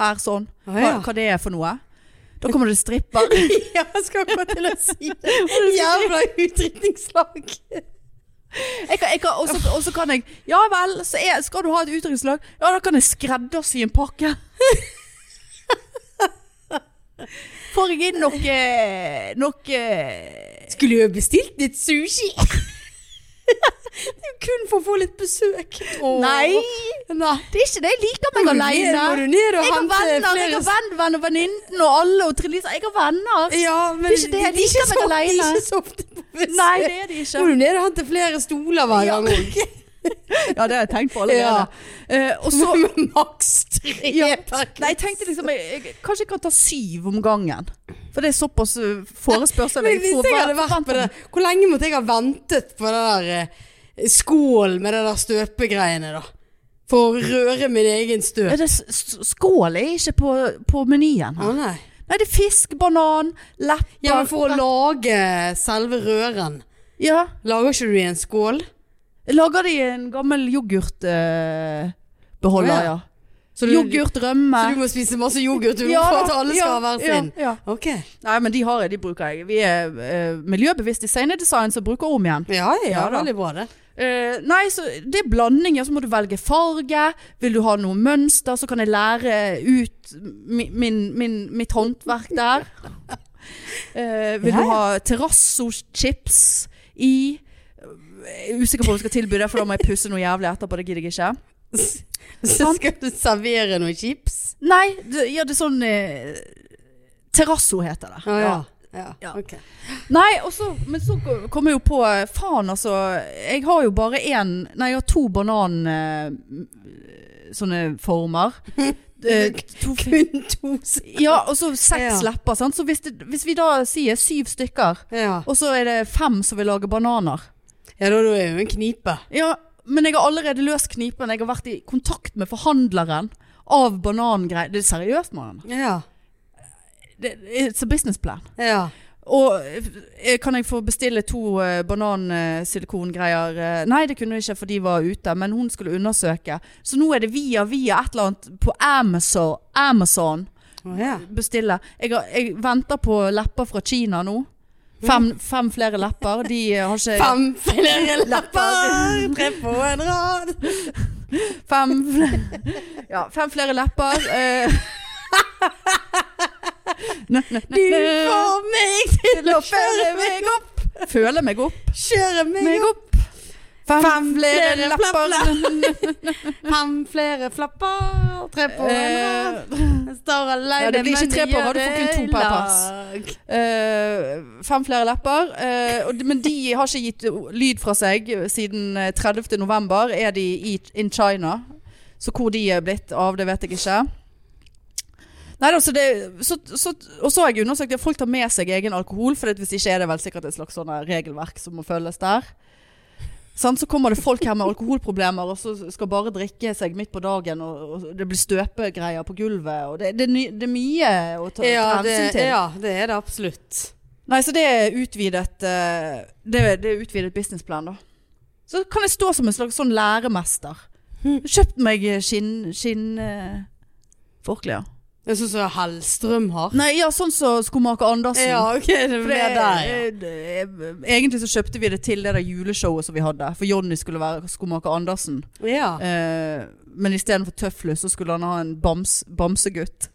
S1: her sånn.
S2: Å,
S1: Hva,
S2: ja.
S1: hva det er for noe. Da kommer det stripper.
S2: *laughs* Ja, jeg skal akkurat til å si *laughs* det. Jævla utdrikningslag.
S1: Jeg kan, jeg kan, og så- og så kan jeg Ja vel, så er, skal du ha et utdrikningslag? Ja, da kan jeg skreddersy en pakke. *laughs* Får jeg inn eh, noe Noe
S2: Skulle jo bestilt litt *laughs* sushi. det er jo kun for å få litt besøk. Åh.
S1: Nei,
S2: Nei.
S1: det er ikke det. Jeg liker meg
S2: Må du ned- Må du
S1: aleine.
S2: ned og
S1: Jeg har
S2: hente
S1: venner, jeg
S2: flere
S1: har venn-venn og venninnen og alle og Trine Lise. Jeg har venner.
S2: Ja, men
S1: Det er ikke det, jeg
S2: de er
S1: liker
S2: ikke
S1: meg
S2: så- de er
S1: alene.
S2: Ikke så ofte på besøk.
S1: Nei, det er de
S2: Må
S1: ikke.
S2: du ned og hente flere stoler hver
S1: Ja.
S2: gang òg?
S1: Ja, det har jeg tenkt på
S2: Ja.
S1: allerede. Eh, *laughs* og
S2: *laughs*
S1: så
S2: maks tre
S1: *laughs* Ja.
S2: per
S1: Nei, jeg tenkte liksom jeg, jeg, Kanskje jeg kan ta syv om gangen. For det er såpass eh, forespørsel
S2: Men
S1: jeg
S2: hvis
S1: får.
S2: jeg
S1: Hva-
S2: hadde vært på
S1: forventer-
S2: det Hvor lenge måtte jeg ha ventet på det der eh, skål med det der støpegreiene, da? For å røre min egen
S1: Ja,
S2: støp?
S1: det, s- s- skål er ikke på, på menyen
S2: Å
S1: her.
S2: nei.
S1: Nei, det er fisk, banan, lepper
S2: Mm. Ja, men for å lage selve røren.
S1: Ja.
S2: Lager ikke du i en skål?
S1: Jeg Lager de i en gammel yoghurtbeholder, eh, beholder,
S2: Å, ja.
S1: ja.
S2: Så du,
S1: Yoghurt, rømme
S2: så du må spise masse yoghurt du, for at alle skal ha hver sin?
S1: Ja, ja.
S2: Ok.
S1: Nei, men de har jeg, de bruker jeg. Vi er eh, miljøbevisst designerdesign, så bruker om igjen.
S2: Ja, ja,
S1: Ja da.
S2: veldig bra det.
S1: Eh, nei, så det er blanding, ja. Så må du velge farge. Vil du ha noe mønster, så kan jeg lære ut mi- min, min, mitt
S2: *laughs*
S1: håndverk der. Eh, vil
S2: Ja,
S1: du
S2: ja.
S1: ha terrassochips i Jeg er usikker på om jeg skal tilby det, for da må jeg pusse noe jævlig etterpå. Det gidder jeg ikke.
S2: *laughs* Så skal du servere noen chips?
S1: Nei, det, ja, det er sånn eh, Terrasso heter det.
S2: Å ja. Ja,
S1: Ja.
S2: ok. *laughs*
S1: Nei, og så, men så kom jeg jo på eh, Faen altså, jeg har jo bare én Nei, jeg har to banan eh, m- Sånne former Eh, to,
S2: Kun to s-
S1: Ja, og så seks
S2: Ja.
S1: lepper sant? Så hvis, det, hvis vi da sier syv stykker
S2: Ja.
S1: Og så er det fem som vil lage bananer
S2: ja, da er du jo en knipe.
S1: Ja, men jeg har allerede løst knipen Jeg har vært i kontakt med forhandleren Av banangreier Det er seriøst, mann
S2: Ja.
S1: Det- It's a business plan
S2: ja.
S1: Og eh, kan jeg få bestille to eh, banansilikongreier? Eh, Nei, det kunne jeg ikke, for de var ute. Men hun skulle undersøke. Så nå er det via via et eller annet på Amazon. Amazon
S2: Å ja.
S1: bestille. Jeg, har- jeg venter på lepper fra Kina nå. Fem, fem flere lepper. De eh, har ikke
S2: Fem flere lapper, tre på en rad.
S1: Fem flere, *laughs* ja, fem flere lepper. eh. *laughs* Nø, nø, nø,
S2: Du
S1: nø.
S2: får meg til å føre meg opp,
S1: Føler meg opp.
S2: kjøre meg
S1: Meg
S2: opp.
S1: opp.
S2: Fem flere
S1: lapper.
S2: Fem flere flapper, tre på en rad.
S1: Eh,
S2: Jeg Står alene,
S1: Ja, det blir ikke
S2: men
S1: tre på
S2: gjør
S1: rad, du får kun to
S2: det
S1: per
S2: i
S1: pass.
S2: lag.
S1: Eh, fem flere lepper. eh, og de- men de har ikke gitt o- lyd fra seg siden eh, 30. november. Er de i, in China? Så hvor de er blitt av, det vet jeg ikke. Nei, da, så det, så, så, og så har jeg undersøkt at folk tar med seg egen alkohol, for det- hvis ikke er det vel sikkert et slags sånn her regelverk som må følges der. Sant? så kommer det folk her med alkoholproblemer og så skal bare drikke seg midt på dagen, og, og det blir støpegreier på gulvet. Og det, det, er ny- det er mye å ta,
S2: Ja,
S1: ta
S2: det,
S1: hensyn til.
S2: ja, det er det absolutt.
S1: Nei, så det er utvidet eh, Det er, det er utvidet businessplan da Så kan jeg stå som en slags sånn læremester
S2: Hm.
S1: Kjøpt meg eh, skinn Skinn eh, Forklær
S2: Det er sånn som Hellstrøm har.
S1: Nei, ja, sånn som skomaker Andersen
S2: Ja, ok, det
S1: For
S2: blir
S1: det,
S2: der, ja.
S1: eh, eh, Egentlig så kjøpte vi det til det der juleshowet som vi hadde For Jonny skulle være skomaker Andersen
S2: ja.
S1: eh, Men i stedet for tøfflus så skulle han ha en bams, bamsegutt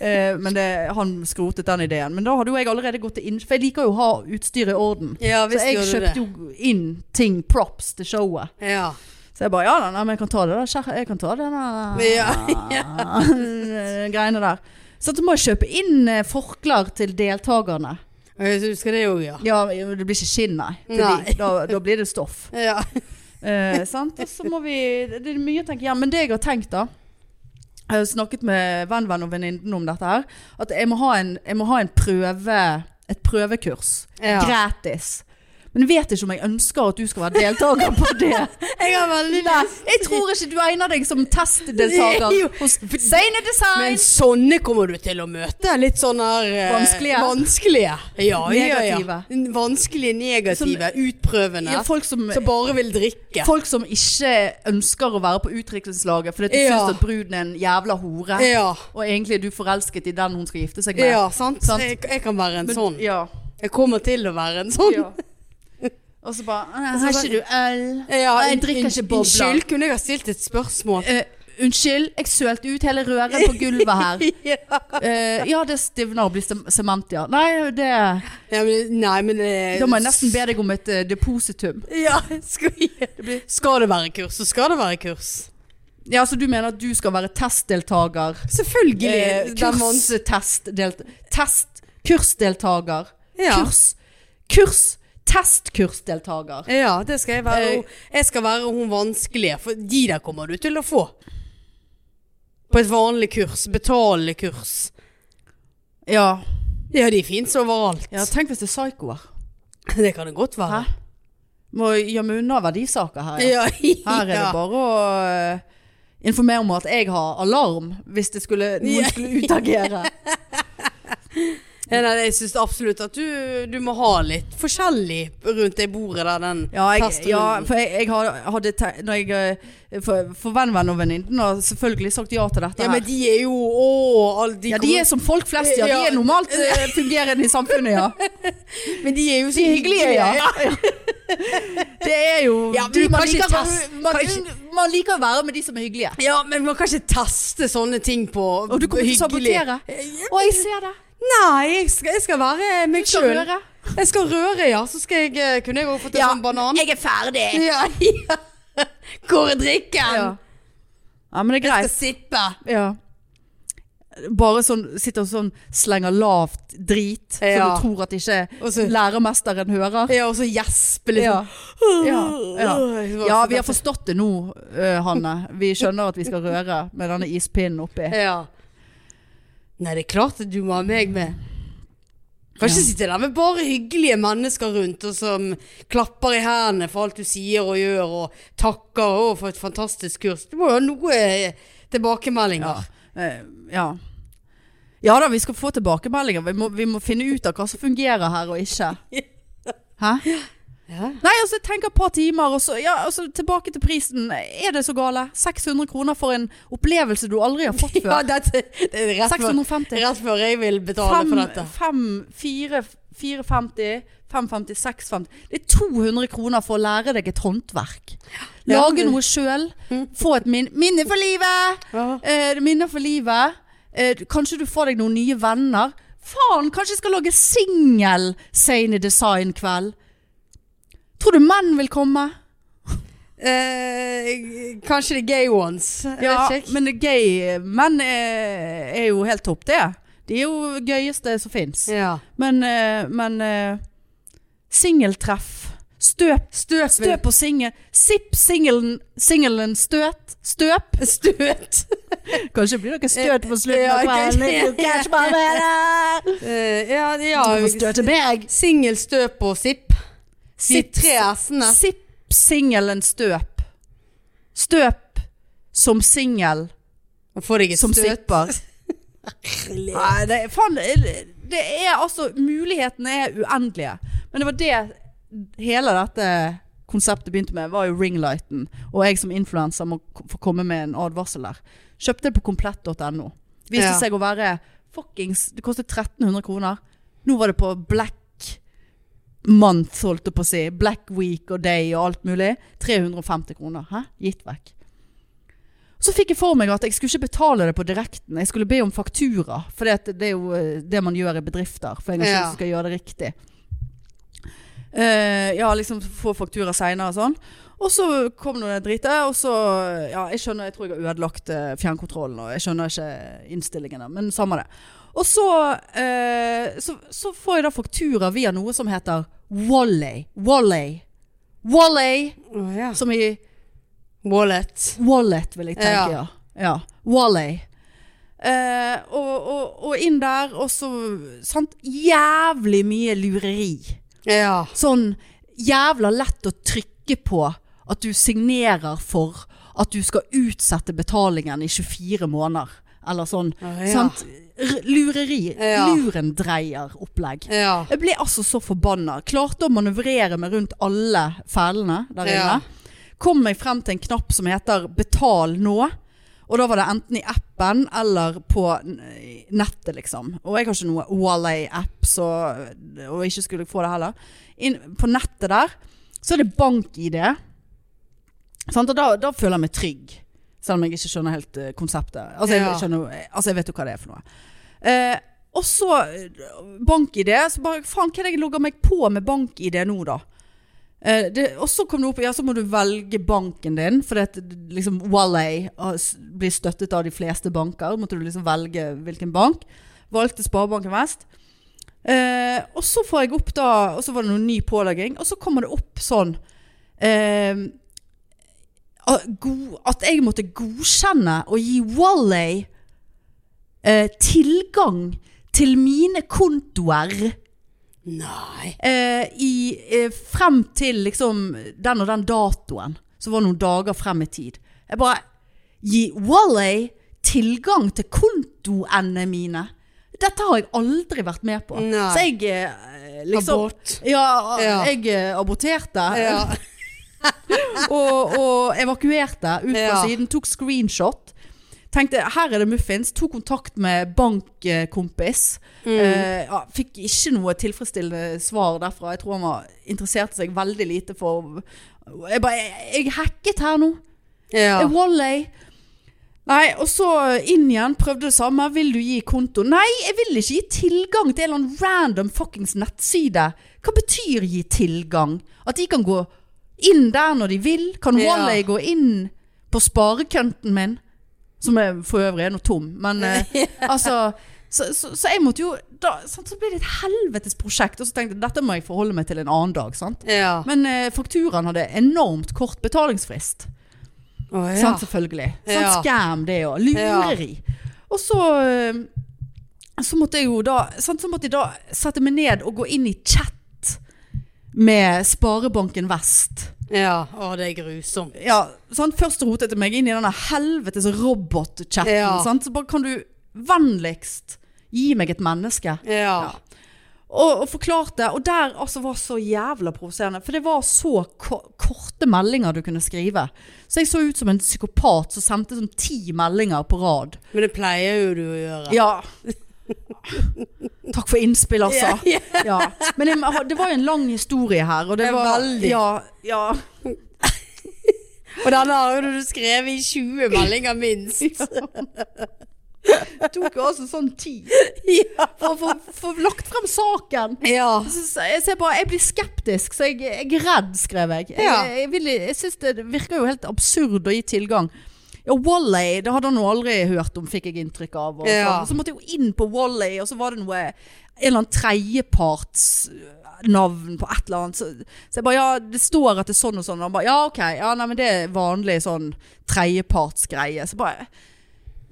S1: Eh, men det, han skrotet den ideen. Men da hadde jo jeg allerede gått til inn... For jeg liker jo å ha utstyret i orden.
S2: Ja,
S1: Så
S2: visst
S1: jeg
S2: gjør du det.
S1: kjøpte jo inn ting, props, til showet.
S2: Ja.
S1: Så jeg bare ja, nei, men jeg kan ta det da, kjære. Jeg kan ta det da. *laughs* Eh, Greiene der. Så at du må kjøpe inn eh, forklær til deltakerne.
S2: Jeg husker det òg, ja.
S1: Ja, men det blir ikke skinn, nei. Til
S2: Nei.
S1: De. Da, da blir det stoff.
S2: ja.
S1: Eh, sant? Og så må vi Det er mye å tenke igjen. Men det jeg har tenkt, da Jeg har snakket med venn, venn og venninnen om dette her. At jeg må ha, en, jeg må ha en prøve, et prøvekurs.
S2: Ja.
S1: Gratis. Men jeg vet ikke om jeg ønsker at du skal være deltaker på det.
S2: *laughs* Jeg har veldig
S1: Nei, jeg tror ikke du egner deg som testdeltaker
S2: *laughs* Jo.
S1: hos Sane
S2: Men
S1: Design.
S2: sånne kommer du til å møte. Litt sånne her, eh,
S1: Vanskelige.
S2: vanskelige. Ja,
S1: Negative.
S2: Ja, ja. Vanskelige, negative, utprøvende.
S1: Ja, folk som,
S2: som bare vil drikke.
S1: folk som ikke ønsker å være på utdrikningslaget fordi de
S2: Ja.
S1: syns at bruden er en jævla hore.
S2: Ja.
S1: Og egentlig er du forelsket i den hun skal gifte seg med.
S2: Ja, sant?
S1: Sant.
S2: Jeg, jeg kan være en sånn.
S1: Ja.
S2: Jeg kommer til å være en sånn.
S1: Ja. Og så bare «Har ikke du øl?
S2: Ja,
S1: Jeg
S2: un-
S1: drikker
S2: un-
S1: ikke bobler.
S2: Unnskyld, kunne jeg ha stilt et
S1: *laughs*
S2: spørsmål?
S1: Eh, unnskyld, jeg sølte ut hele røret på gulvet her. *laughs*
S2: Ja.
S1: Eh, ja, det stivner og blir sem- sement, ja. Nei, det
S2: Nei, men, nei, men eh,
S1: Da må jeg nesten be deg om et eh, depositum.
S2: *laughs* Ja, skal, skal det være kurs, så skal det være kurs.
S1: Ja, Så du mener at du skal være testdeltaker?
S2: Selvfølgelig.
S1: Eh,
S2: den vans-
S1: Kurstestdelt... Test... Kursdeltaker.
S2: Ja.
S1: Kurs... Kurs... Testkursdeltaker.
S2: Ja, det skal jeg være.
S1: Eh,
S2: Hun- Jeg skal være hun vanskelige, for de der kommer du til å få. På et vanlig kurs. Betalende kurs.
S1: Ja.
S2: Ja, de fins overalt.
S1: ja. Tenk hvis det er psykoer.
S2: Det kan det godt være.
S1: Hæ? Må gjemme unna verdisaker her. ja.
S2: Ja,
S1: Her er det
S2: ja.
S1: bare å eh, informere om at jeg har alarm hvis det skulle,
S2: Ja.
S1: noen skulle utagere.
S2: *laughs* Ja, nei, jeg syns absolutt at du, du må ha litt forskjellig rundt det bordet der, den
S1: Ja, jeg,
S2: testrunden.
S1: ja for jeg, jeg har- hadde te- når jeg, eh, For, for venn, venn og venninnen har selvfølgelig sagt ja til dette.
S2: Ja,
S1: her.
S2: men de er jo Å, alle de,
S1: ja, de er som folk flest, ja. De
S2: Ja.
S1: er normalt eh, fungerende i samfunnet, ja.
S2: kommer- Men de er jo så
S1: De er hyggelige, ja. Det er jo
S2: Ja, men
S1: de,
S2: du
S1: man,
S2: kan ikke
S1: liker, å være-
S2: test-
S1: man,
S2: kan ikke-
S1: man liker å være med de som er hyggelige.
S2: Ja, men man kan ikke teste sånne ting på
S1: Og du kommer til å
S2: hyggelig.
S1: sabotere. Å, jeg ser det.
S2: Eh, Nei, jeg skal, jeg skal være meg
S1: skal
S2: sjøl.
S1: røre.
S2: Jeg skal røre, ja. Så skal jeg, eh, kunne jeg også fått en sånn banan.
S1: Jeg er ferdig.
S2: Ja, ja. Hvor er drikken?
S1: Ja. ja, men det er greit.
S2: Jeg skal sippe.
S1: Ja. Bare sånn, sitter og sånn slenger lavt drit,
S2: Ja.
S1: så du tror at ikke
S2: Og så-
S1: lærermesteren hører.
S2: Ja, og så gjespe litt.
S1: Ja.
S2: sånn.
S1: Ja, ja.
S2: Det var så
S1: ja, vi har
S2: dette.
S1: forstått det nå, eh, Hanne. Vi skjønner at vi skal røre med denne ispinnen oppi.
S2: Ja. Nei, det er klart at du må ha meg med. Kan ikke
S1: Ja.
S2: sitte der med bare hyggelige mennesker rundt, og som klapper i hendene for alt du sier og gjør, og takker og for et fantastisk kurs. Du må jo ha noe eh, tilbakemeldinger.
S1: Eh, ja. ja da, vi skal få tilbakemeldinger. Vi må, vi må finne ut av hva som fungerer her
S2: *laughs*
S1: og ikke. Hæ?
S2: Ja.
S1: Nei, altså jeg tenker et par timer, og så ja, altså, tilbake til prisen. Er det så gale? 600 kroner for en opplevelse du aldri har
S2: *laughs*
S1: fått før.
S2: Ja, dette, det er rett før,
S1: 650.
S2: rett før jeg vil betale for dette.
S1: 5, 4, 450, 550, 650 Det er 200 kroner for å lære deg et håndverk.
S2: Ja. Mm.
S1: Lage noe sjøl. Få et min minne for livet! Eh, minner for livet. Eh, kanskje du får deg noen nye venner. Faen, kanskje jeg skal lage singel Sane Design-kveld. Tror du menn vil komme?
S2: Eh, kanskje det er gay ones. Jeg vet ikke.
S1: men gay menn er, er jo helt topp, det. De er jo gøyeste som fins.
S2: Ja.
S1: Men, eh, men eh, singeltreff. Støp.
S2: Støp.
S1: Støp og singel. Sipp singelen, singelen støt. Støp.
S2: Støt.
S1: Kanskje blir dere støt på slutten
S2: Ja,
S1: av kvelden.
S2: kanskje.
S1: *laughs* Jeg kan ikke bare være der.
S2: Eh, ja,
S1: Du får
S2: ja.
S1: støte meg.
S2: Singel, støp og sipp. De
S1: Sipp,
S2: tre s-ene.
S1: sipp singelen støp. Støp som singel.
S2: Og Får deg et
S1: Som
S2: støt. *laughs*
S1: sipper. Nei, det, er- faen, det er altså Mulighetene er uendelige. Men det var det hele dette konseptet begynte med, var jo ringlighten. Og jeg som influenser må k- få komme med en advarsel der. Kjøpte det på komplett.no. Viste
S2: Ja.
S1: seg å være fuckings Det kostet 1300 kroner. Nå var det på black month, holdt jeg på å si. Black week og day og alt mulig. 350 kroner. Hæ? Gitt vekk. Så fikk jeg for meg at jeg skulle ikke betale det på direkten. Jeg skulle be om faktura, for det, det er jo eh, det man gjør i bedrifter. For en gang
S2: Ja.
S1: skyld skal gjøre det riktig. Eh, ja, liksom få faktura seinere og sånn. Og så kom nå det dritet, og så Ja, jeg skjønner, jeg tror jeg har ødelagt eh, fjernkontrollen, og jeg skjønner ikke innstillingene, men samme det. Og så, eh, så, så får jeg da faktura via noe som heter Wally. Wally. Wally,
S2: Å, ja.
S1: som i
S2: Wallet.
S1: Wallet, vil jeg tenke, ja.
S2: Ja.
S1: ja. Wally. Eh, og, og, og inn der, og så sant? Jævlig mye lureri.
S2: Ja.
S1: Sånn jævla lett å trykke på at du signerer for at du skal utsette betalingen i 24 måneder. Eller sånn.
S2: Å, ja.
S1: Sant? R lureri.
S2: Ja.
S1: Lurendreier-opplegg.
S2: Ja.
S1: Jeg ble altså så forbanna. Klarte å manøvrere meg rundt alle felene der inne.
S2: Ja.
S1: Kom meg frem til en knapp som heter 'betal nå'. Og da var det enten i appen eller på n- nettet, liksom. Og jeg har ikke noe Wallay-app, så Og ikke skulle få det heller. Inn, på nettet der så er det bank-ID. Sant? Og da, da føler jeg meg trygg. Selv om jeg ikke skjønner helt eh, konseptet. Altså, jeg,
S2: Ja.
S1: skjønner, altså, jeg vet jo hva det er for noe. Eh, og så eh, bank-ID. Så bare faen, hva er det jeg logger meg på med bank-ID nå, da? Eh, det, og så kom det opp Ja, så må du velge banken din, for det, liksom, Wallay har s- blir støttet av de fleste banker. Måtte du liksom velge hvilken bank. Valgte Sparebanken Vest. Eh, og så får jeg opp da Og så var det noen ny pålegging, og så kommer det opp sånn eh, at go- at jeg måtte godkjenne og gi Wallay eh, tilgang til mine kontoer
S2: Nei.
S1: eh, i, eh, frem til liksom, den og den datoen. Så var det noen dager frem i tid. Jeg bare Gi Wallay tilgang til kontoene mine! Dette har jeg aldri vært med på.
S2: Nei.
S1: Så jeg eh, liksom
S2: Abort.
S1: ja,
S2: Ja.
S1: jeg eh, aborterte
S2: Ja.
S1: og, og evakuerte ut fra
S2: Ja.
S1: siden, tok screenshot. Tenkte her er det muffins. Tok kontakt med bankkompis. Eh, ja, fikk ikke noe tilfredsstillende svar derfra. Jeg tror han var interesserte seg veldig lite for Jeg bare Jeg, jeg hacket her nå.
S2: Ja.
S1: Eh, Wallay. Nei, og så inn igjen, prøvde det samme. Vil du gi konto? Nei, jeg vil ikke gi tilgang til en eller annen random fuckings nettside. Hva betyr gi tilgang? At de kan gå inn der når de vil? Kan
S2: Ja.
S1: Wallay gå inn på sparekønten min? Som er, for øvrig er nå tom, men
S2: *laughs*
S1: eh, *laughs* altså så, så, så jeg måtte jo da, sant, Så ble det et helvetes prosjekt, og så tenkte jeg dette må jeg forholde meg til en annen dag. Sant?
S2: Ja.
S1: Men eh, fakturaen hadde enormt kort betalingsfrist.
S2: Å, ja.
S1: Sant, selvfølgelig. Sant,
S2: Ja.
S1: Scam, det òg. Lureri. Og så eh, Så måtte jeg jo da sant, Så måtte jeg da sette meg ned og gå inn i chat med Sparebanken Vest.
S2: ja. Å, det er grusomt.
S1: Ja, sant? Først rotet jeg meg inn i denne helvetes robot-chatten.
S2: Ja.
S1: sant? Så bare kan du vennligst gi meg et menneske.
S2: Ja.
S1: Og, og forklarte, og der altså var så jævla provoserende, for det var så ko korte meldinger du kunne skrive. Så jeg så ut som en psykopat som sendte sånn ti meldinger på rad.
S2: Men det pleier jo du å gjøre.
S1: Ja. Takk for innspill, altså. *laughs* Ja. Men jeg, det var jo en lang historie her, og det
S2: Ja,
S1: var
S2: veldig.
S1: Ja, ja.
S2: Og denne har jo du skrevet i 20 meldinger
S1: *laughs*
S2: minst.
S1: Det tok jo altså sånn *laughs* tid
S2: Ja.
S1: for å få- få lagt frem saken.
S2: ja.
S1: Jeg synes- Jeg, ser bare, jeg blir skeptisk, så jeg, jeg er redd, skrev jeg. Jeg,
S2: Ja.
S1: jeg, vil, jeg synes det virker jo helt absurd å gi tilgang. Ja, Wally, det hadde han jo aldri hørt om, fikk jeg inntrykk av. Og
S2: Ja.
S1: sånn. Så måtte jeg jo inn på Wally, og så var det noe en eller annen tredjeparts øh, navn på et eller annet. Så, så jeg bare, ja, det står at det er sånn og sånn. Og han bare, ja, ok, ja, nei, men det er vanlig sånn tredjepartsgreie. Så bare,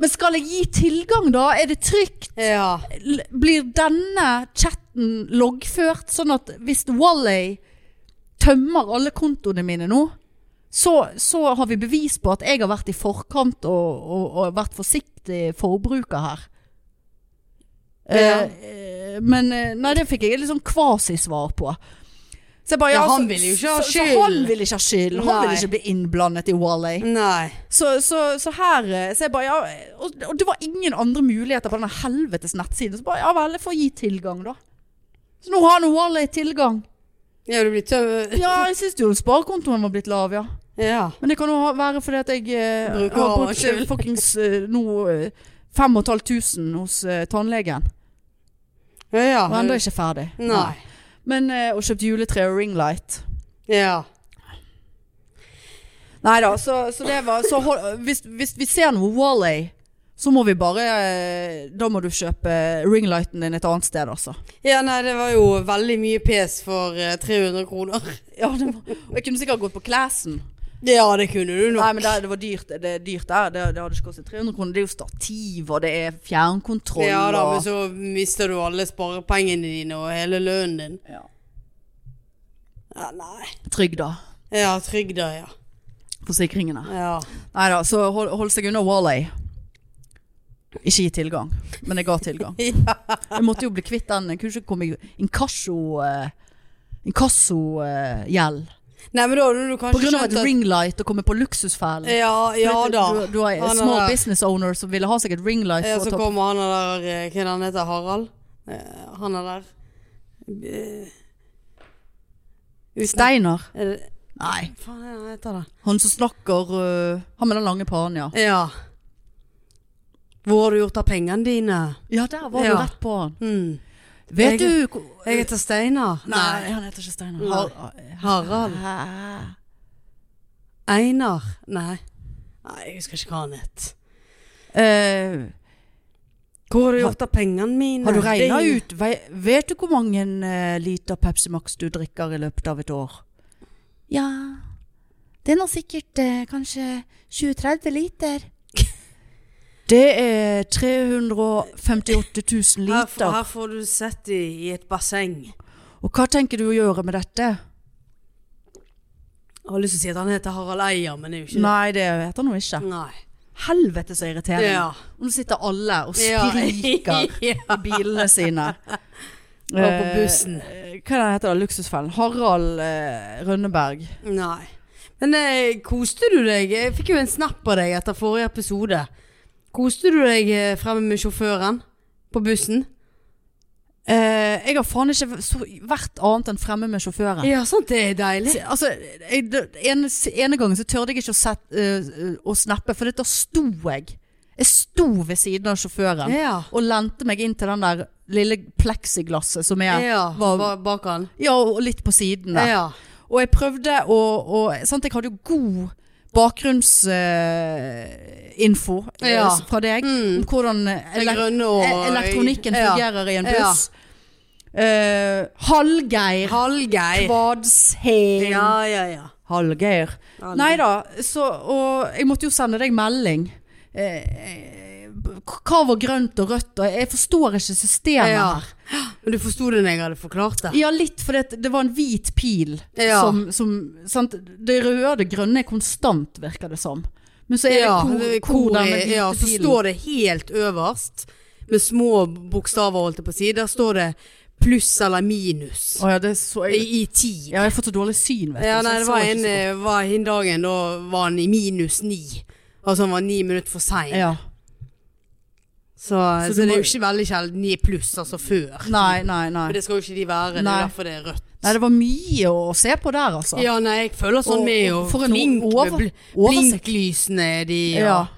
S1: men skal jeg gi tilgang da? Er det trygt?
S2: Ja.
S1: L- blir denne chatten loggført sånn at hvis Wally tømmer alle kontoene mine nå, så, så har vi bevis på at jeg har vært i forkant og, og, og vært forsiktig forbruker her.
S2: Ja.
S1: Eh, eh, men eh, nei, det fikk jeg et litt sånn kvasisvar på. Så jeg bare,
S2: Ja,
S1: så-
S2: han ville jo ikke ha
S1: så- så
S2: skyld.
S1: Han ville ikke ha skyld. Han
S2: Nei.
S1: ville ikke bli innblandet i Wally.
S2: Nei.
S1: Så, så, så her eh, så jeg bare, ja, og, og det var ingen andre muligheter på denne helvetes nettsiden. Så bare, ja vel, jeg får gi tilgang, da. Så nå har nå alle tilgang.
S2: Ja, du blir tøv...
S1: Ja, jeg syns jo sparekontoen var blitt lav, ja.
S2: Ja.
S1: Men det kan jo ha- være fordi at jeg eh,
S2: Bruker
S1: har
S2: hava
S1: brukt
S2: selv.
S1: eh, *laughs* fuckings eh, nå eh, 5500 hos eh, tannlegen.
S2: Ja, ja.
S1: Og ennå ikke ferdig.
S2: Nei.
S1: Men, eh, og kjøpt juletre og ringlight.
S2: Ja.
S1: Nei da, så, så det var så hold, hvis, hvis vi ser noe Wall-A, så må vi bare eh, Da må du kjøpe ringlighten din et annet sted, altså.
S2: Ja, nei, det var jo veldig mye pes for eh, 300 kroner.
S1: Ja, det var, og jeg kunne sikkert gått på Classen.
S2: Ja, det kunne du nok.
S1: Nei, men det, det var dyrt. Det er dyrt der. Det, det hadde ikke kostet 300 kroner. Det er jo stativ, og det er fjernkontroll
S2: ja da, men
S1: og
S2: så mister du alle sparepengene dine og hele lønnen din.
S1: ja.
S2: Ja, nei.
S1: Trygda.
S2: Ja, trygda, ja.
S1: Forsikringene.
S2: Ja.
S1: Nei da, så hold, hold seg unna Wall-A. Ikke gi tilgang, men jeg ga tilgang.
S2: *laughs* ja.
S1: Jeg måtte jo bli kvitt den. Jeg kunne ikke komme i inkasso... eh, Inkassogjeld.
S2: Nei, men da hadde du
S1: på
S2: kanskje
S1: grunn av et
S2: skjønt at-
S1: ringlight og komme på luksusfellen.
S2: Ja, ja
S1: For at
S2: da.
S1: Du, du er
S2: Han er
S1: small
S2: der.
S1: business owner som ville ha seg et ringlight.
S2: Ja,
S1: for
S2: så
S1: å ta-
S2: kommer han der eh, Hva er det han heter? Harald? Eh, Han er der. Eh, Uten
S1: Steiner?
S2: Er det-
S1: Nei.
S2: Hva faen er det han heter, da?
S1: Han som snakker øh, Han med den lange panen, ja.
S2: Ja. Hvor har du gjort av pengene dine?
S1: Ja, der var du
S2: Ja.
S1: rett på han.
S2: Hm.
S1: Vet
S2: Jeg-
S1: du hvor-
S2: Jeg heter Steinar.
S1: Nei, han heter ikke Steiner. Har-
S2: Harald.
S1: Hæ?
S2: Einar. Nei. Nei, jeg husker ikke hva han het.
S1: Eh,
S2: Hvor har du gjort av pengene mine?
S1: har du regna
S2: Det-
S1: ut vei- Vet du hvor mange eh, liter Pepsi Max du drikker i løpet av et år? Ja Det er nå sikkert eh, kanskje 20-30 liter. *laughs* Det er 358 000
S2: Her, f-
S1: liter.
S2: her får du sett dem i et basseng.
S1: Og hva tenker du å gjøre med dette?
S2: Jeg har lyst til å si at han heter Harald Eier, men det er jo ikke
S1: Nei, det heter han nå ikke.
S2: Nei.
S1: Helvete så irriterende.
S2: Ja.
S1: Og nå sitter alle og
S2: *laughs* Ja.
S1: *laughs* skriker i bilene sine.
S2: Og på bussen.
S1: Eh, Hva heter det, luksusfellen? Harald eh, Rønneberg.
S2: Nei. Men eh, koste du deg? Jeg fikk jo en snap av deg etter forrige episode. Koste du deg eh, fremme med sjåføren på bussen?
S1: Eh, jeg har faen ikke så, vært annet enn fremme med sjåføren.
S2: Ja, sant det er deilig.
S1: Se, Altså, jeg, det- ene, ene gangen så tørde jeg ikke å, set, eh, å snappe, for da sto jeg. Jeg sto ved siden av sjåføren
S2: Ja.
S1: og lente meg inn til den der lille pleksiglasset som er
S2: Ja,
S1: var-
S2: ba- bak han.
S1: ja, og litt på siden der.
S2: Ja.
S1: Og jeg prøvde å, å sant, Jeg hadde jo god bakgrunnsinfo
S2: Ja.
S1: eh, fra deg om
S2: Mm.
S1: hvordan
S2: Det
S1: elek
S2: grønne og
S1: e- elektronikken
S2: Ja.
S1: fungerer i en buss. Eh, Hallgeir.
S2: Hallgeir.
S1: Kvadsheim.
S2: Ja, ja, ja.
S1: Hallgeir.
S2: Hallgeir.
S1: Nei da, så Og jeg måtte jo sende deg melding. Eh, eh, hva var grønt og rødt? Og jeg forstår ikke systemet
S2: Ja.
S1: her.
S2: Men du forsto det når jeg hadde forklart det?
S1: Ja, litt, for det, det var en hvit pil
S2: Ja.
S1: som, som sant? Det røde og det grønne er konstant, virker det som. Men så er
S2: Ja,
S1: det hvor,
S2: hvor
S1: hvor den
S2: er-
S1: hvite
S2: ja, så
S1: pilen
S2: står det helt øverst, med små bokstaver holdt jeg på å si, der står det pluss eller minus
S1: Å ja, det så jeg
S2: i, i tid.
S1: Ja, jeg har fått så dårlig syn, vet du.
S2: Ja,
S1: så
S2: nei,
S1: jeg
S2: det
S1: så
S2: var
S1: ikke
S2: en,
S1: så godt.
S2: eh, var en dagen da var han i minus ni. Altså han var ni minutter for sein.
S1: ja.
S2: Så,
S1: Så
S2: så, det
S1: du
S2: er
S1: må-
S2: jo ikke veldig sjelden ni pluss, altså før.
S1: Nei, nei, nei.
S2: Men det skal jo ikke de være, det
S1: Nei.
S2: er derfor det er rødt.
S1: Nei, det var mye å se på der, altså.
S2: Ja, nei, jeg føler sånn
S1: Og-
S2: med
S1: og
S2: og
S1: for en
S2: flink
S1: over-
S2: med bl
S1: oversikt.
S2: blinklysene er de og,
S1: Ja,
S2: og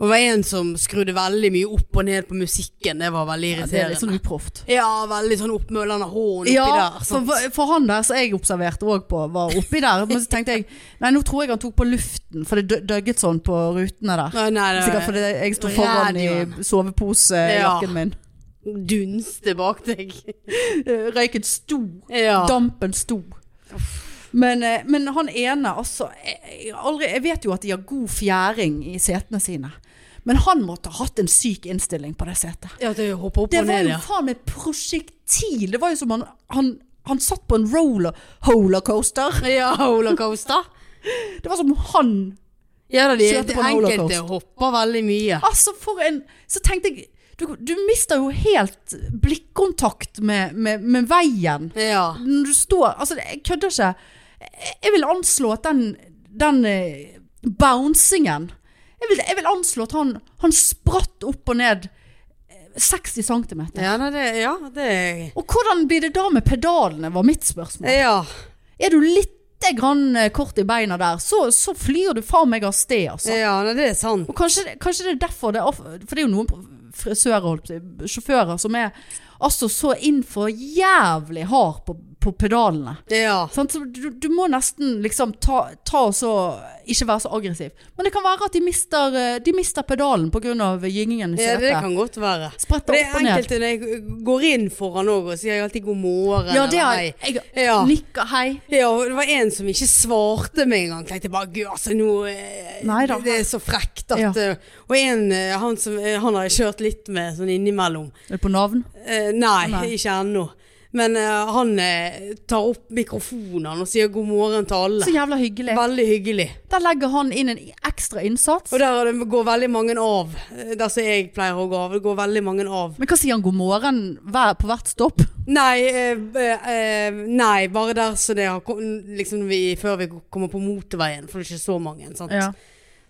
S2: det var en som skrudde veldig mye opp og ned på musikken, det var veldig
S1: det er litt
S2: irriterende.
S1: sånn uproft.
S2: Ja, veldig sånn oppmølende hånd oppi
S1: Ja,
S2: der.
S1: for,
S2: Sånn.
S1: for han der som jeg observerte òg på, var oppi der. Men så tenkte jeg Nei, nå tror jeg han tok på luften, for det dø- døgget sånn på rutene der.
S2: Nei, nei, det
S1: Sikkert fordi jeg sto foran i
S2: Radioen.
S1: soveposejakken
S2: Ja.
S1: *laughs* min.
S2: dunste bak deg.
S1: Eh, Røyken sto.
S2: Ja.
S1: Dampen sto. Men, eh, men han ene, altså jeg, jeg har aldri, jeg vet jo at de har god fjæring i setene sine. Men han måtte ha hatt en syk innstilling på det setet.
S2: Ja, det hopper opp
S1: Det
S2: og
S1: var
S2: ned,
S1: jo
S2: ja.
S1: faen meg prosjektil! Det var jo som han, han, han satt på en roller, rollercoaster.
S2: Ja, rollercoaster.
S1: Det var som han
S2: Ja, da, de,
S1: Kjørte
S2: de
S1: på en
S2: enkelte
S1: rollercoaster.
S2: hopper veldig mye.
S1: Altså, for en Så tenkte jeg Du, du mister jo helt blikkontakt med, med, med veien.
S2: Ja.
S1: Når du står Altså, jeg kødder ikke. Jeg vil anslå at den, den eh, bouncingen jeg vil, jeg vil anslå at han, han spratt opp og ned eh, 60 cm.
S2: Ja, nei, det, ja, det
S1: Og hvordan blir det da med pedalene, var mitt spørsmål.
S2: Ja.
S1: Er du litt lite grann eh, kort i beina der, så, så flyr du faen meg av sted, altså.
S2: Ja, nei, det er sant.
S1: Og kanskje, det- kanskje det er derfor det er of- For det er jo noen frisører, holdt jeg på å si, sjåfører, som er altså så innfor jævlig hard på, på pedalene.
S2: Ja.
S1: Sant? Så du, du må nesten liksom ta, ta og så Ikke være så aggressiv. Men det kan være at de mister, eh, de mister pedalen pga. gyngingen i
S2: ja, det
S1: setet.
S2: kan godt være.
S1: Spretter
S2: Det
S1: opp
S2: er
S1: og ned.
S2: enkelte når jeg går inn foran òg og sier alltid god morgen.
S1: Ja, det
S2: eller
S1: har
S2: hei.
S1: jeg.
S2: Ja.
S1: Nikker hei.
S2: Ja, og det var en som ikke svarte med en gang. Tenkte bare gud, altså nå eh,
S1: Neida.
S2: Det er så frekt at
S1: Ja.
S2: eh, Og en, eh, han, som, eh, han har jeg kjørt litt med sånn innimellom.
S1: Er det på navn?
S2: Eh, nei,
S1: Nei.
S2: ikke ennå. Men eh, han eh, tar opp mikrofonen og sier god morgen til alle.
S1: Så jævla hyggelig.
S2: Veldig hyggelig.
S1: Der legger han inn en ekstra innsats.
S2: Og der er det- går veldig mange av. eh, Der som jeg pleier å gå av. Det går veldig mange av.
S1: Men hva sier han god morgen hver, på hvert stopp?
S2: Nei, eh, eh, eh, nei bare der så det har kom- liksom vi, Før vi kommer på motorveien, for det er ikke så mange. Sant?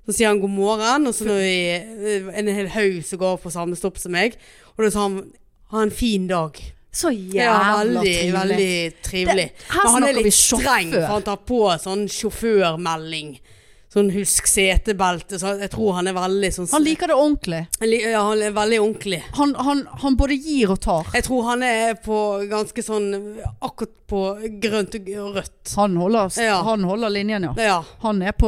S2: Så sier han god morgen, og så når vi eh, en hel haug som går av på samme stopp som meg. Og da sa han ha en fin dag.
S1: Så
S2: Ja,
S1: jævla
S2: veldig,
S1: trivelig.
S2: veldig trivelig.
S1: Det- her
S2: Men han
S1: snakker
S2: er
S1: vi
S2: litt streng,
S1: sjåfør.
S2: for han tar på sånn sjåførmelding. Sånn husk setebelte, så jeg tror han er veldig sånn
S1: Han liker det ordentlig.
S2: Han li- Ja, han er veldig ordentlig.
S1: Han, han, han både gir og tar.
S2: Jeg tror han er på ganske sånn akkurat på grønt og og rødt.
S1: Han holder,
S2: Ja.
S1: han holder linjen, ja.
S2: Ja.
S1: Han er på,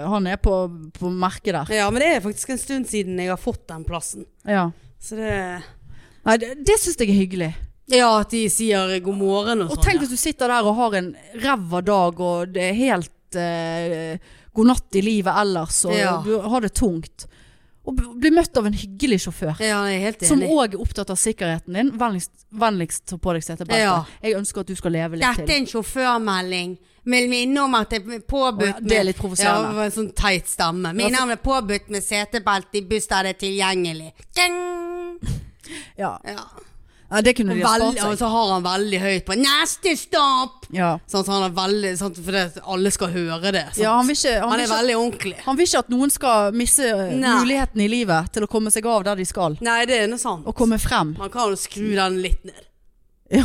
S1: han er på, på merket der.
S2: ja, men det er faktisk en stund siden jeg har fått den plassen.
S1: Ja.
S2: Så det
S1: Nei, det, det syns jeg er hyggelig.
S2: Ja, at de sier god morgen og
S1: Og
S2: sånn.
S1: tenk
S2: ja.
S1: hvis du sitter der og har en ræva dag, og det er helt eh, god natt i livet ellers, og
S2: Ja.
S1: du har det tungt. Og b- bli møtt av en hyggelig sjåfør.
S2: Ja, jeg er helt
S1: Som
S2: enig.
S1: òg er opptatt av sikkerheten din. Vennligst, vennligst ta på deg setebeltet.
S2: Ja.
S1: Jeg ønsker at du skal leve litt til.
S2: en sjåførmelding. Vil minne om at det er påbudt
S1: Å ja, det er litt provoserende.
S2: Ja, det var en sånn teit stemme. Minne om det er påbudt med setebelte i buss der det er tilgjengelig. Ding!
S1: Ja.
S2: Ja.
S1: ja, det kunne
S2: Og,
S1: de ha
S2: vel,
S1: spart
S2: og
S1: seg.
S2: så har han veldig høyt på 'neste stopp'!
S1: Ja.
S2: Sånn, så han er veldig, sånn, for det, alle skal høre det. sånn. sant?
S1: Ja, han vil ikke, han
S2: han
S1: vil
S2: er
S1: ikke,
S2: veldig ordentlig.
S1: han vil ikke at noen skal misse eh,
S2: Nei.
S1: muligheten i livet til å komme seg av der de skal,
S2: Nei, det er noe sant.
S1: og komme frem.
S2: Man kan jo skru den litt ned.
S1: Ja.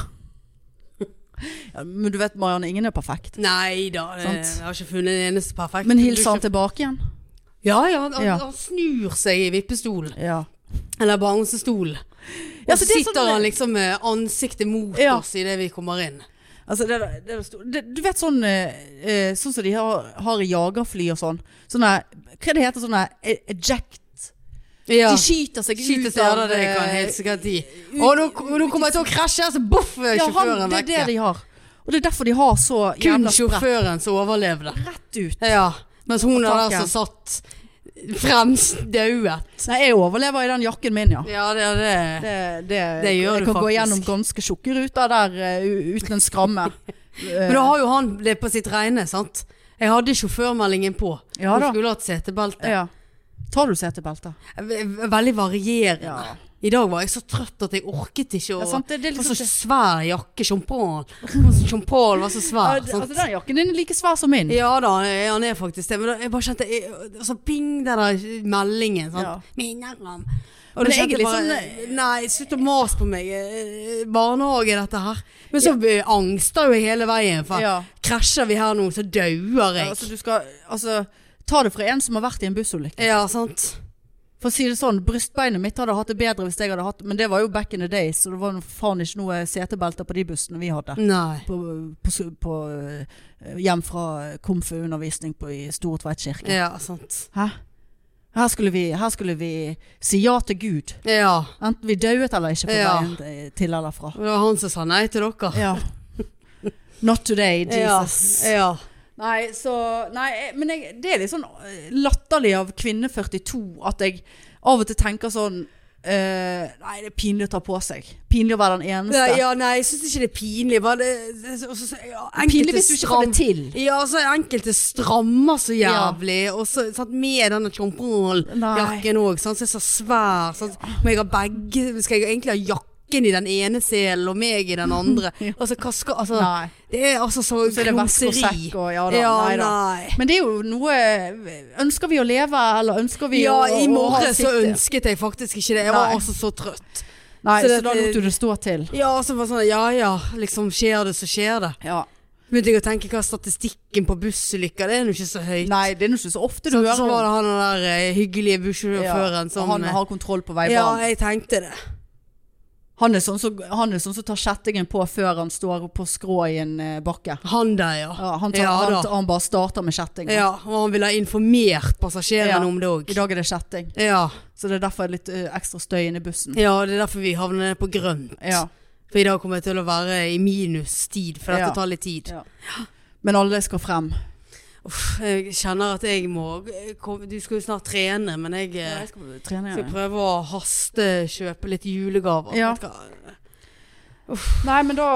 S1: ja men du vet, Marianne, ingen er perfekt.
S2: Nei da, det,
S1: Sant.
S2: jeg har ikke funnet en eneste perfekt.
S1: Men
S2: Du
S1: hilser han
S2: ikke-
S1: tilbake igjen?
S2: Ja, ja, han,
S1: Ja.
S2: han snur seg i vippestolen.
S1: Ja.
S2: Eller bouncestol.
S1: Ja,
S2: og
S1: så
S2: så
S1: det er
S2: sitter
S1: sånn-
S2: han liksom med ansiktet mot
S1: Ja.
S2: oss idet vi kommer inn.
S1: Altså, det, er- det, er stor- det, du vet sånn eh, eh, Sånn som de har, har i jagerfly og sånn. Sånne Hva det heter sånne e- Eject.
S2: Ja.
S1: De skyter seg
S2: Skyter
S1: ut
S2: seg
S1: av
S2: av det
S1: eh,
S2: kan helt sikkert de. Og nå, nå kommer jeg til å krasje, så boff, er
S1: Ja, han,
S2: sjåføren
S1: det er det
S2: vekke.
S1: de har. Og det er derfor de har så
S2: Kun
S1: jævla sprett
S2: sjåføren som overlevde.
S1: rett ut.
S2: Ja. Mens hun
S1: Og
S2: er
S1: taket.
S2: der som satt fremst dauet.
S1: Nei, jeg overlever i den jakken min, ja.
S2: Ja, det er det.
S1: Det, det,
S2: Det gjør
S1: jeg
S2: du
S1: kan gå
S2: faktisk.
S1: gjennom ganske tjukke ruter der eh, u- uten en skramme.
S2: *laughs*
S1: Eh,
S2: Men da har jo han det på sitt reine, sant? Jeg hadde sjåførmeldingen på.
S1: Ja da.
S2: Hun skulle hatt setebelte.
S1: Ja. Tar du setebelte?
S2: V- Veldig varierende.
S1: Ja.
S2: I dag var jeg så trøtt at jeg orket ikke å
S1: Ja, sant, det- det er
S2: var
S1: liksom
S2: så
S1: det.
S2: svær jakke. Champagne. Champagne var så
S1: Ja,
S2: svær.
S1: altså,
S2: sant?
S1: den jakken din er like svær som min.
S2: Ja da, han er- han er faktisk det. Men da, jeg bare kjente jeg, og Så ping, den der meldingen. Sant?
S1: Ja.
S2: Minner om.
S1: Men
S2: Og da
S1: jeg er
S2: kjente jeg bare
S1: liksom-
S2: Nei, slutt å mase på meg. Eh, Barnehage, dette her. Men så eh, angster jo hele veien. For
S1: Ja.
S2: krasjer vi her nå, så dauer
S1: Ja,
S2: jeg.
S1: altså, du skal, altså, ta det fra en som har vært i en bussulykke.
S2: Ja, sant.
S1: For å si det sånn, brystbeinet mitt hadde hatt det bedre hvis jeg hadde hatt Men det var jo back in the days, så det var nå faen ikke noe setebelter på de bussene vi hadde.
S2: Nei.
S1: På, på, på, eh, hjem fra komfu-undervisning på- i Store Tveit kirke.
S2: Ja, sant.
S1: Hæ? Her skulle, vi, her skulle vi si ja til Gud.
S2: Ja.
S1: Enten vi døde eller ikke på
S2: Ja.
S1: veien eh, til eller fra.
S2: Og det var han som sa nei til dere.
S1: Ja. Not today, Jesus.
S2: Ja. ja.
S1: Nei, så, nei jeg- men jeg, det er litt sånn eh, latterlig av kvinne 42 at jeg av og til tenker sånn eh, Nei, det er pinlig å ta på seg. Pinlig å være den eneste.
S2: Nei, ja, nei, jeg syns ikke det er pinlig. Bare det, det, og så- så- ja,
S1: pinlig
S2: enkelte
S1: hvis du ikke får det til.
S2: Ja, altså enkelte strammer så jævlig. Og så sant, med denne champagne-jakken òg, sånn, så er så svær. Sånn, må jeg ha begge Skal jeg egentlig ha jakken i den ene selen og meg i den
S1: *laughs*
S2: andre? Altså, hva skal Altså,
S1: Nei.
S2: det er altså så
S1: Så er det vesk og sekk og ja da. nei da.
S2: nei.
S1: Men det er jo noe eh, Ønsker vi å leve, eller ønsker vi å
S2: Ja,
S1: å-
S2: i
S1: å ha
S2: morgen så
S1: sitt-
S2: ønsket jeg faktisk ikke det. Jeg var
S1: Nei.
S2: altså så trøtt.
S1: Nei,
S2: så
S1: så,
S2: det-
S1: da lot du det stå til.
S2: Ja, og så var det sånn Ja ja, liksom skjer det, så skjer det.
S1: Ja.
S2: Begynte jeg å tenke hva statistikken på bussulykker Det er nå ikke så høyt.
S1: Nei, det er nå ikke så ofte du
S2: så
S1: hører
S2: plutselig var
S1: om
S2: det Sånn han der eh, hyggelige bussjåføren
S1: ja,
S2: som
S1: Han har kontroll på
S2: sånn- Ja,
S1: veibanen.
S2: jeg tenkte det.
S1: Han er sånn som han er sånn som tar kjettingen på før han står på skrå i en eh, bakke.
S2: Han der, ja.
S1: Ja, han, tar,
S2: Ja, da.
S1: han, han bare starter med kjettingen.
S2: Ja, og han ville ha informert passasjerene
S1: Ja.
S2: om det òg.
S1: I dag er det kjetting,
S2: Ja.
S1: så det er derfor litt eh, ekstra støy inne i bussen.
S2: ja, det er derfor vi havner på grønt.
S1: Ja.
S2: For i dag kommer jeg til å være i minustid, for dette
S1: Ja.
S2: tar litt tid.
S1: Ja. Men alle skal frem.
S2: Uff, jeg kjenner at jeg må kom- Du skal jo snart trene, men jeg eh,
S1: skal trene
S2: skal prøve å hastekjøpe litt julegaver.
S1: Ja.
S2: Vet du hva?
S1: Nei, men da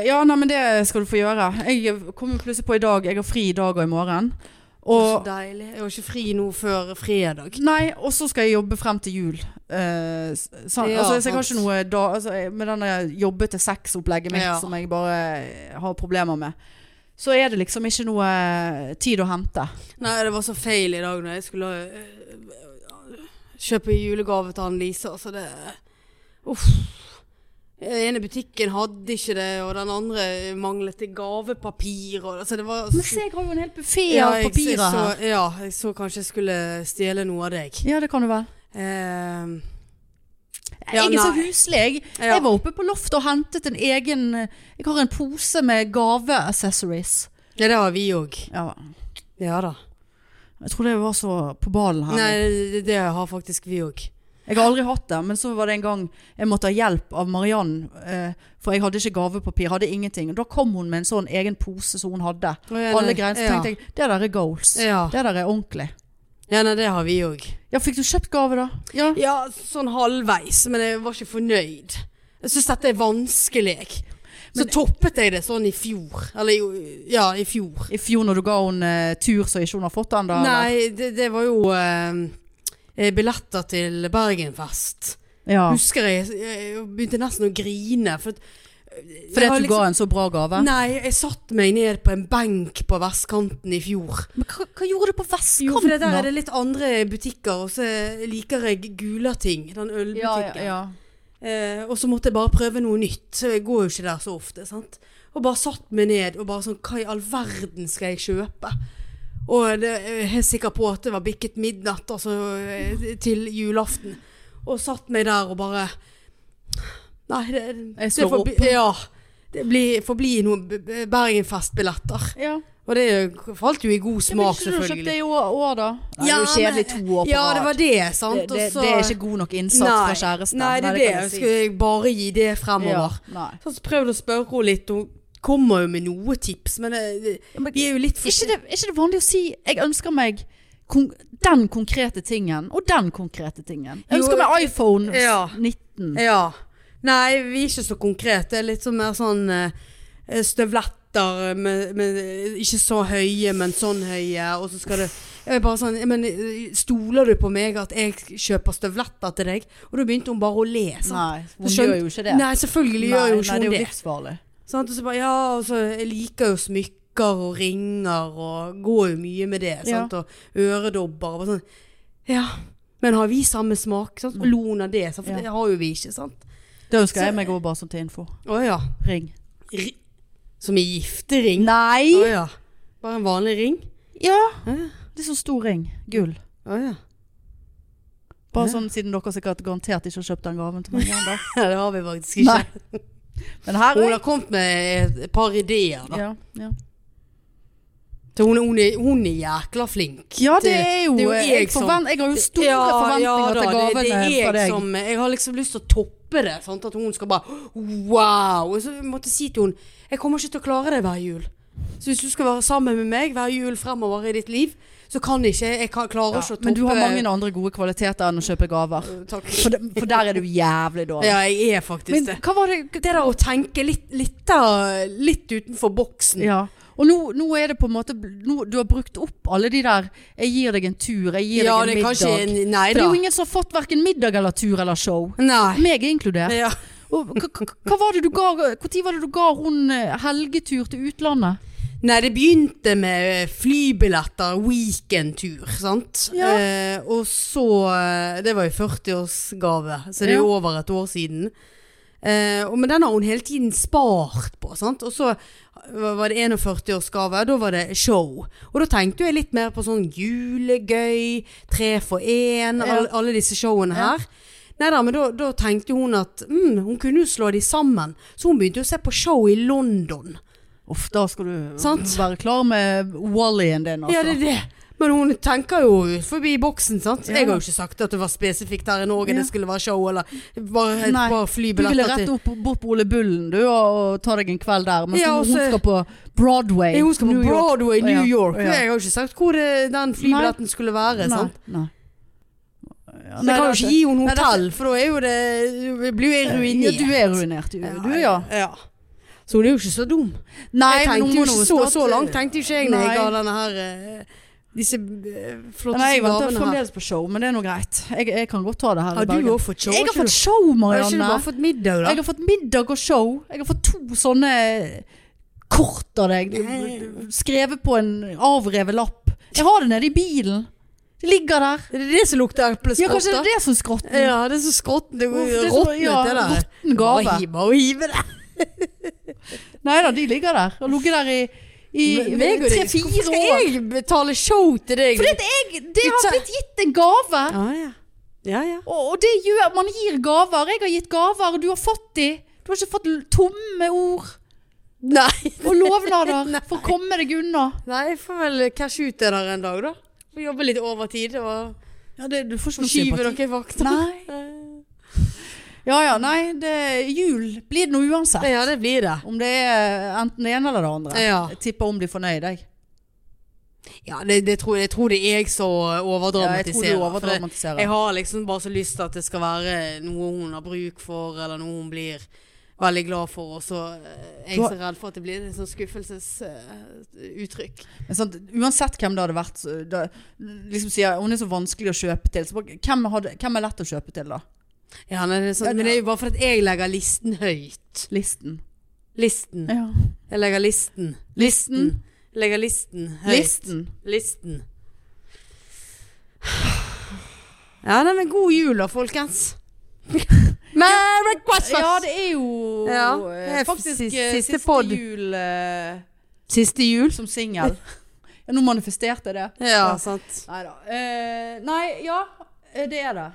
S1: eh, Ja, nei, men det skal du få gjøre. Jeg kom jo plutselig på i dag. Jeg har fri i dag og i morgen.
S2: Så
S1: Og
S2: deilig. Jeg har ikke fri nå før fredag.
S1: Nei, og så skal jeg jobbe frem til jul. Eh, s- sant?
S2: Ja,
S1: altså, så jeg har
S2: sant.
S1: ikke noe da, altså, jeg- Med denne jobbe til seks-opplegget mitt
S2: Ja.
S1: som jeg bare eh, har problemer med, så er det liksom ikke noe tid å hente.
S2: Nei, det var så feil i dag når jeg skulle eh, kjøpe julegave til han Lise. Altså det Uff. Den ene butikken hadde ikke det, og den andre manglet det gavepapir. Og, altså det var
S1: Men se, jeg har jo en hel buffé
S2: Ja,
S1: av
S2: jeg- jeg
S1: papirer
S2: så,
S1: her.
S2: Ja, jeg så kanskje jeg skulle stjele noe av deg.
S1: Ja, det kan du vel.
S2: Eh, Ja,
S1: Jeg er så
S2: nei.
S1: huslig. Jeg,
S2: Ja.
S1: jeg var oppe på loftet og hentet en egen Jeg har en pose med gaveaccessories.
S2: ja, det har vi òg.
S1: Ja.
S2: Ja da.
S1: Jeg trodde jeg var så på ballen her.
S2: Nei, det, det har faktisk vi òg.
S1: Jeg har aldri hatt det, men så var det en gang jeg måtte ha hjelp av Mariann. Eh, for jeg hadde ikke gavepapir, hadde ingenting. Og da kom hun med en sånn egen pose som hun hadde. Alle greiene. Så tenkte jeg det der er goals.
S2: ja.
S1: Det der er ordentlig.
S2: ja, nei, det har vi òg.
S1: Ja, fikk du kjøpt gave, da? Ja.
S2: Ja, sånn halvveis, men jeg var ikke fornøyd. Jeg syns dette er vanskelig. Så toppet jeg det sånn i fjor. Eller jo, ja, i fjor.
S1: I fjor når du ga henne eh, tur så ikke hun har fått den, da? eller?
S2: Nei, det, det var jo eh, billetter til Bergenfest.
S1: Ja.
S2: Husker jeg, jeg begynte nesten å grine. For, eh,
S1: Fordi at du ga en så bra gave?
S2: liksom Nei, jeg satte meg ned på en benk på vestkanten i fjor.
S1: Men hva, hva gjorde du på Vestkanten?
S2: Jo, for det der
S1: da?
S2: er det litt andre butikker, og så liker jeg Gulating, den ølbutikken.
S1: ja, ja, ja.
S2: Eh, og så måtte jeg bare prøve noe nytt, så jeg går jo ikke der så ofte. sant? Og bare satt meg ned og bare sånn Hva i all verden skal jeg kjøpe? Og det, jeg er helt sikker på at det var bikket midnatt, altså eh, til julaften. Og satt meg der og bare Nei, det,
S1: Jeg slår
S2: det forbi- Ja. Det blir, forblir noen B- B- Bergenfest-billetter.
S1: Ja.
S2: Og det falt jo i god smak,
S1: Kjøpte
S2: selvfølgelig.
S1: i år, år da? Nei,
S2: Ja,
S1: det er jo kjedelig
S2: men-
S1: to år på
S2: Ja, det var
S1: rad.
S2: det, sant.
S1: Det, det,
S2: Og så-
S1: det er ikke god nok innsats
S2: Nei.
S1: fra kjæresten.
S2: Nei, det er det. Jeg Skulle jeg bare gi det fremover?
S1: Ja, nei.
S2: Så prøvde jeg å spørre henne litt. Hun kommer jo med noe tips, men eh, vi er jo litt
S1: Er ikke, det, er ikke det vanlig å si 'jeg ønsker meg kon den konkrete tingen' og den konkrete tingen? Jeg
S2: Jo,
S1: ønsker meg iPhone
S2: ja.
S1: 19.
S2: Ja. Nei, vi er ikke så konkrete. Det er litt sånn mer sånn eh, støvletter med, med Ikke så høye, men sånn høye. Og så skal det jeg er bare sånn, men eh, Stoler du på meg at jeg kjøper støvletter til deg? Og da begynte hun bare å le. sant?
S1: Nei, hun
S2: Så skjøn-
S1: gjør jo ikke det.
S2: Nei, selvfølgelig
S1: Nei,
S2: gjør jo
S1: nei,
S2: ikke hun
S1: Det er
S2: det.
S1: jo livsfarlig.
S2: Sant? Og så bare, ja, altså, jeg liker jo smykker og ringer og går jo mye med det.
S1: Ja.
S2: Sant? Og øredobber og bare sånn. Ja, men har vi samme smak? Sant? Og lo hun av det, sant? for
S1: Mm. Ja.
S2: det har jo vi ikke, sant?
S1: Da ønsker
S2: Så-
S1: jeg meg òg bare sånn til info.
S2: Å ja.
S1: Ring.
S2: Ri som i giftering? Å
S1: Nei!
S2: ja. Bare en vanlig ring?
S1: Ja,
S2: Å ja.
S1: det er så stor ring. Gull.
S2: Å ja. *laughs*
S1: Bare
S2: Ja.
S1: sånn siden dere sikkert garantert ikke har kjøpt den gaven til meg igjen, da.
S2: Ja, det har vi faktisk ikke.
S1: Men her
S2: Hun har kommet med et par ideer. Da.
S1: ja, ja.
S2: Så Hun, er- hun, er, hun er jækla flink.
S1: ja, det er jo,
S2: det er jo
S1: jeg,
S2: jeg som-
S1: forvent, jeg har jo store forventninger
S2: da,
S1: til
S2: det,
S1: gavene
S2: det er jeg
S1: fra deg.
S2: Som, jeg har liksom lyst til å toppe det. Sant? At hun skal bare wow. Og så måtte jeg si til hun Jeg kommer ikke til å klare det hver jul. Så hvis du skal være sammen med meg hver jul fremover i ditt liv, så kan ikke jeg kan, klarer
S1: Ja,
S2: ikke å toppe
S1: men du har mange andre gode kvaliteter enn å kjøpe gaver.
S2: Takk.
S1: For, de, for der er du jævlig dårlig.
S2: Ja, jeg er faktisk
S1: Men
S2: det.
S1: hva var det
S2: Det der å tenke litt, litt, da, litt utenfor boksen.
S1: Ja. Og nå, nå er det på en måte nå, Du har brukt opp alle de der 'jeg gir deg en tur', 'jeg gir
S2: Ja,
S1: deg
S2: det
S1: en
S2: er kanskje
S1: middag'.
S2: Nei
S1: For
S2: da.
S1: det er jo ingen som har fått verken middag eller tur eller show.
S2: Nei.
S1: Meg inkludert.
S2: Ja.
S1: Og hva- hva hva var det du ga Når var det du ga hun eh, helgetur til utlandet?
S2: Nei, det begynte med eh, flybilletter, weekendtur, sant?
S1: Ja.
S2: Eh, og så eh, Det var jo 40-årsgave, så det er jo over et år siden. Eh, og, men den har hun hele tiden spart på. Sant? Og så eh, var det 41-årsgave, da var det show. Og da tenkte jeg litt mer på sånn julegøy, tre for én,
S1: Ja.
S2: all, alle disse showene her. Neida, men da, da tenkte hun at mm, hun kunne jo slå de sammen. Så hun begynte jo å se på show i London.
S1: Uff, da skal du
S2: Sant?
S1: være klar med Wally-en din, altså.
S2: Ja, det er det. Men hun tenker jo forbi boksen, sant.
S1: Ja.
S2: Jeg har jo ikke sagt at det var spesifikt her i Norge
S1: Ja.
S2: det skulle være show, eller bare et
S1: Nei.
S2: par
S1: du ville
S2: flybilletter
S1: rett
S2: til
S1: opp bort på Ole Bullen du, og, og ta deg en kveld der, mens
S2: Ja,
S1: hun-
S2: og
S1: hun
S2: så-
S1: skal på Broadway.
S2: Ja, Hun skal på
S1: New York.
S2: Broadway i New
S1: Ja,
S2: York.
S1: ja.
S2: Jeg har jo ikke sagt hvor det, den flybilletten skulle være.
S1: Nei,
S2: sant?
S1: nei. Ja,
S2: Så jeg kan jo ikke gi henne
S1: Nei, det er-
S2: hotell, for da er jo det jeg blir jo jeg
S1: Ja,
S2: ruinert.
S1: du er ruinert, du, du ja.
S2: ja. Så hun er jo ikke så dum.
S1: Nei,
S2: jeg
S1: men
S2: tenkte jo
S1: hun må
S2: ikke
S1: nå
S2: så,
S1: starte-
S2: så langt tenkte jo ikke jeg når jeg
S1: Nei.
S2: ga denne her eh, disse eh, flotte
S1: Nei, jeg venter
S2: gavene her.
S1: fremdeles på show, men det er nå greit. Jeg, jeg kan godt ta det her i
S2: Har du
S1: Bergen.
S2: òg fått show?
S1: Jeg har
S2: ikke
S1: fått
S2: du?
S1: show,
S2: Har ikke du
S1: Marianne.
S2: bare fått middag, da?
S1: Jeg har fått middag og show. Jeg har fått to sånne kort av deg. Skrevet på en avrevet lapp. Jeg har det nede i bilen. Det ligger der.
S2: Er det det som lukter
S1: Ja, kanskje det
S2: epleskrotter?
S1: er det som er skrotten.
S2: Ja, det er så skrotten Det
S1: Mm. Uff, det er så-
S2: råtnet,
S1: ja,
S2: det der.
S1: råtten gave.
S2: Bare hive- Bare hive det.
S1: Nei da, de ligger der. Har ligget der i, i
S2: Meg og deg.
S1: tre-fire
S2: Hvorfor
S1: år.
S2: skal jeg betale show til deg?
S1: Fordi at jeg, det har
S2: Ikke-
S1: blitt gitt en gave.
S2: Ja, ja. Ja, ja.
S1: Og, og det gjør Man gir gaver. Jeg har gitt gaver, og du har fått de. Du har ikke fått l- tomme ord
S2: Nei.
S1: og lovnader for å komme deg unna.
S2: *laughs* Nei, jeg får vel cash ut det der en dag, da. Får jobbe litt overtid og
S1: Ja, det, du får
S2: skyve dere vakter.
S1: Nei.
S2: Eh,
S1: Ja ja, nei, det, jul blir det nå uansett.
S2: Ja, det blir det.
S1: Om det er enten det ene eller det andre.
S2: Ja.
S1: Jeg tipper om de er fornøyd, jeg.
S2: Ja, det, det tror, jeg tror det er jeg som
S1: Ja,
S2: overdramatiserer.
S1: jeg tror du
S2: for det-
S1: overdramatiserer.
S2: Jeg har liksom bare så lyst til at det skal være noe hun har bruk for, eller noe hun blir veldig glad for, og så eh, er jeg
S1: Du har-
S2: så redd for at det blir et sånn skuffelsesuttrykk.
S1: Men sant, uansett hvem det hadde vært så- da, liksom sier, Hun er så vanskelig å kjøpe til. Så bare, hvem, hadde, hvem er lett å kjøpe til, da?
S2: ja, nei, det er sånn,
S1: Ja, det-
S2: men det er jo bare fordi jeg legger listen høyt.
S1: Listen.
S2: Listen.
S1: Ja.
S2: Jeg legger listen.
S1: Listen.
S2: Jeg Legger listen høyt.
S1: Listen.
S2: Listen. Ja, nei, men god jul da, folkens. Merry Christmas!
S1: Ja, det er jo
S2: Ja,
S1: eh,
S2: det er
S1: faktisk
S2: siste-
S1: eh,
S2: siste
S1: siste,
S2: podd.
S1: jul eh,
S2: Siste jul. *laughs*
S1: som singel. ja, nå manifesterte jeg det.
S2: Ja, sant.
S1: Nei da. Eh, nei, ja. eh, Det er det.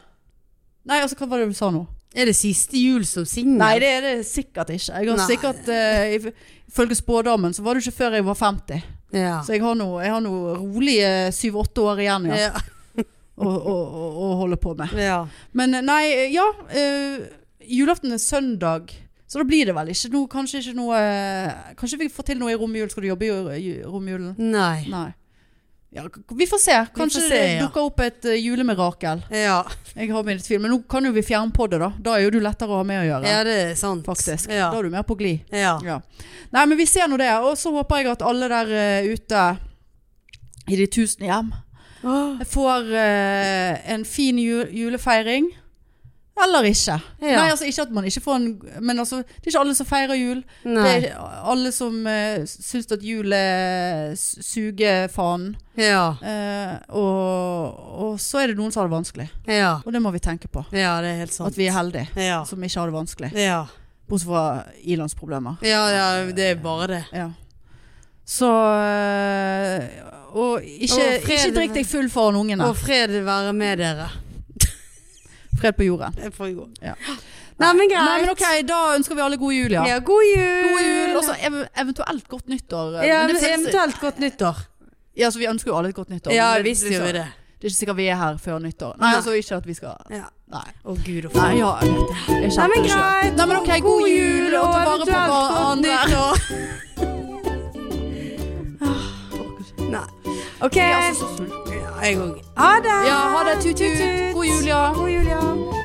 S1: Nei, altså hva var det du sa nå?
S2: Er det siste jul som singel?
S1: Nei, det er det sikkert ikke. Jeg har
S2: Nei.
S1: sikkert, eh, if- Ifølge spådamen så var det ikke før jeg var 50.
S2: Ja.
S1: Så jeg har nå, jeg har nå rolige syv-åtte år igjen ja,
S2: Ja.
S1: å, å, å, å holde på med.
S2: ja.
S1: Men eh, nei, eh, ja. eh, julaften er søndag. Så da blir det vel ikke noe Kanskje ikke noe eh, Kanskje vi får til noe i romjulen? Skal du jobbe i ju- ju- romjulen?
S2: Nei.
S1: Nei. Ja, k- vi får se. Kanskje
S2: se,
S1: det
S2: ja.
S1: dukker opp et eh, julemirakel.
S2: Ja.
S1: Jeg har mine tvil. Men nå kan jo vi fjernpodde, da. Da er jo du lettere å ha med å gjøre.
S2: ja, det er sant.
S1: Faktisk. Da
S2: Ja.
S1: er du mer på glid.
S2: ja.
S1: Ja. Nei, men vi ser nå det. Og så håper jeg at alle der eh, ute i de tusen hjem får eh, en fin ju julefeiring. Eller ikke.
S2: Ja.
S1: Nei, altså ikke at man ikke får en Men altså, det er ikke alle som feirer jul. Det
S2: Nei.
S1: er ikke alle som uh, syns at jul er s- sugefanen.
S2: Ja.
S1: Eh, og, og så er det noen som har det vanskelig.
S2: Ja.
S1: Og det må vi tenke på.
S2: Ja, det er helt sant.
S1: At vi er heldige
S2: Ja.
S1: som ikke har det vanskelig.
S2: Ja.
S1: Bortsett fra ilandsproblemer.
S2: ja, ja, det er bare det.
S1: Ja. Så eh, Og ikke,
S2: Og fred-
S1: ikke drikk deg full foran ungene.
S2: Og fred være med dere.
S1: Fred på jorden.
S2: Det får gå.
S1: Ja.
S2: Nei, men greit.
S1: Nei, men ok, Da ønsker vi alle god jul, ja.
S2: Ja, god jul!
S1: God jul, og så ev eventuelt godt nyttår. eh,
S2: ja,
S1: men
S2: men
S1: det føles-
S2: eventuelt godt nyttår.
S1: ja, så Vi ønsker jo alle et godt nyttår.
S2: Ja,
S1: men det-
S2: visst
S1: det er
S2: gjør vi
S1: så-
S2: det.
S1: Det er ikke sikkert vi er her før nyttår. Nei,
S2: Nei.
S1: altså ikke at vi skal
S2: Ja.
S1: Nei.
S2: Å, gud og
S1: Nei, ja, jeg vet det. Jeg
S2: Nei,
S1: kjente
S2: men
S1: det selv.
S2: greit.
S1: Nei, men ok, god jul, og ta vare på
S2: eventuelt godt
S1: hverandre.
S2: nyttår. Nei. OK.
S1: Jeg er altså så sulten.
S2: Ja, jeg òg. Ha det!
S1: Ja, ha det. Tut-tut.
S2: Tut-tut.
S1: God jul, ja.
S2: God jul, ja.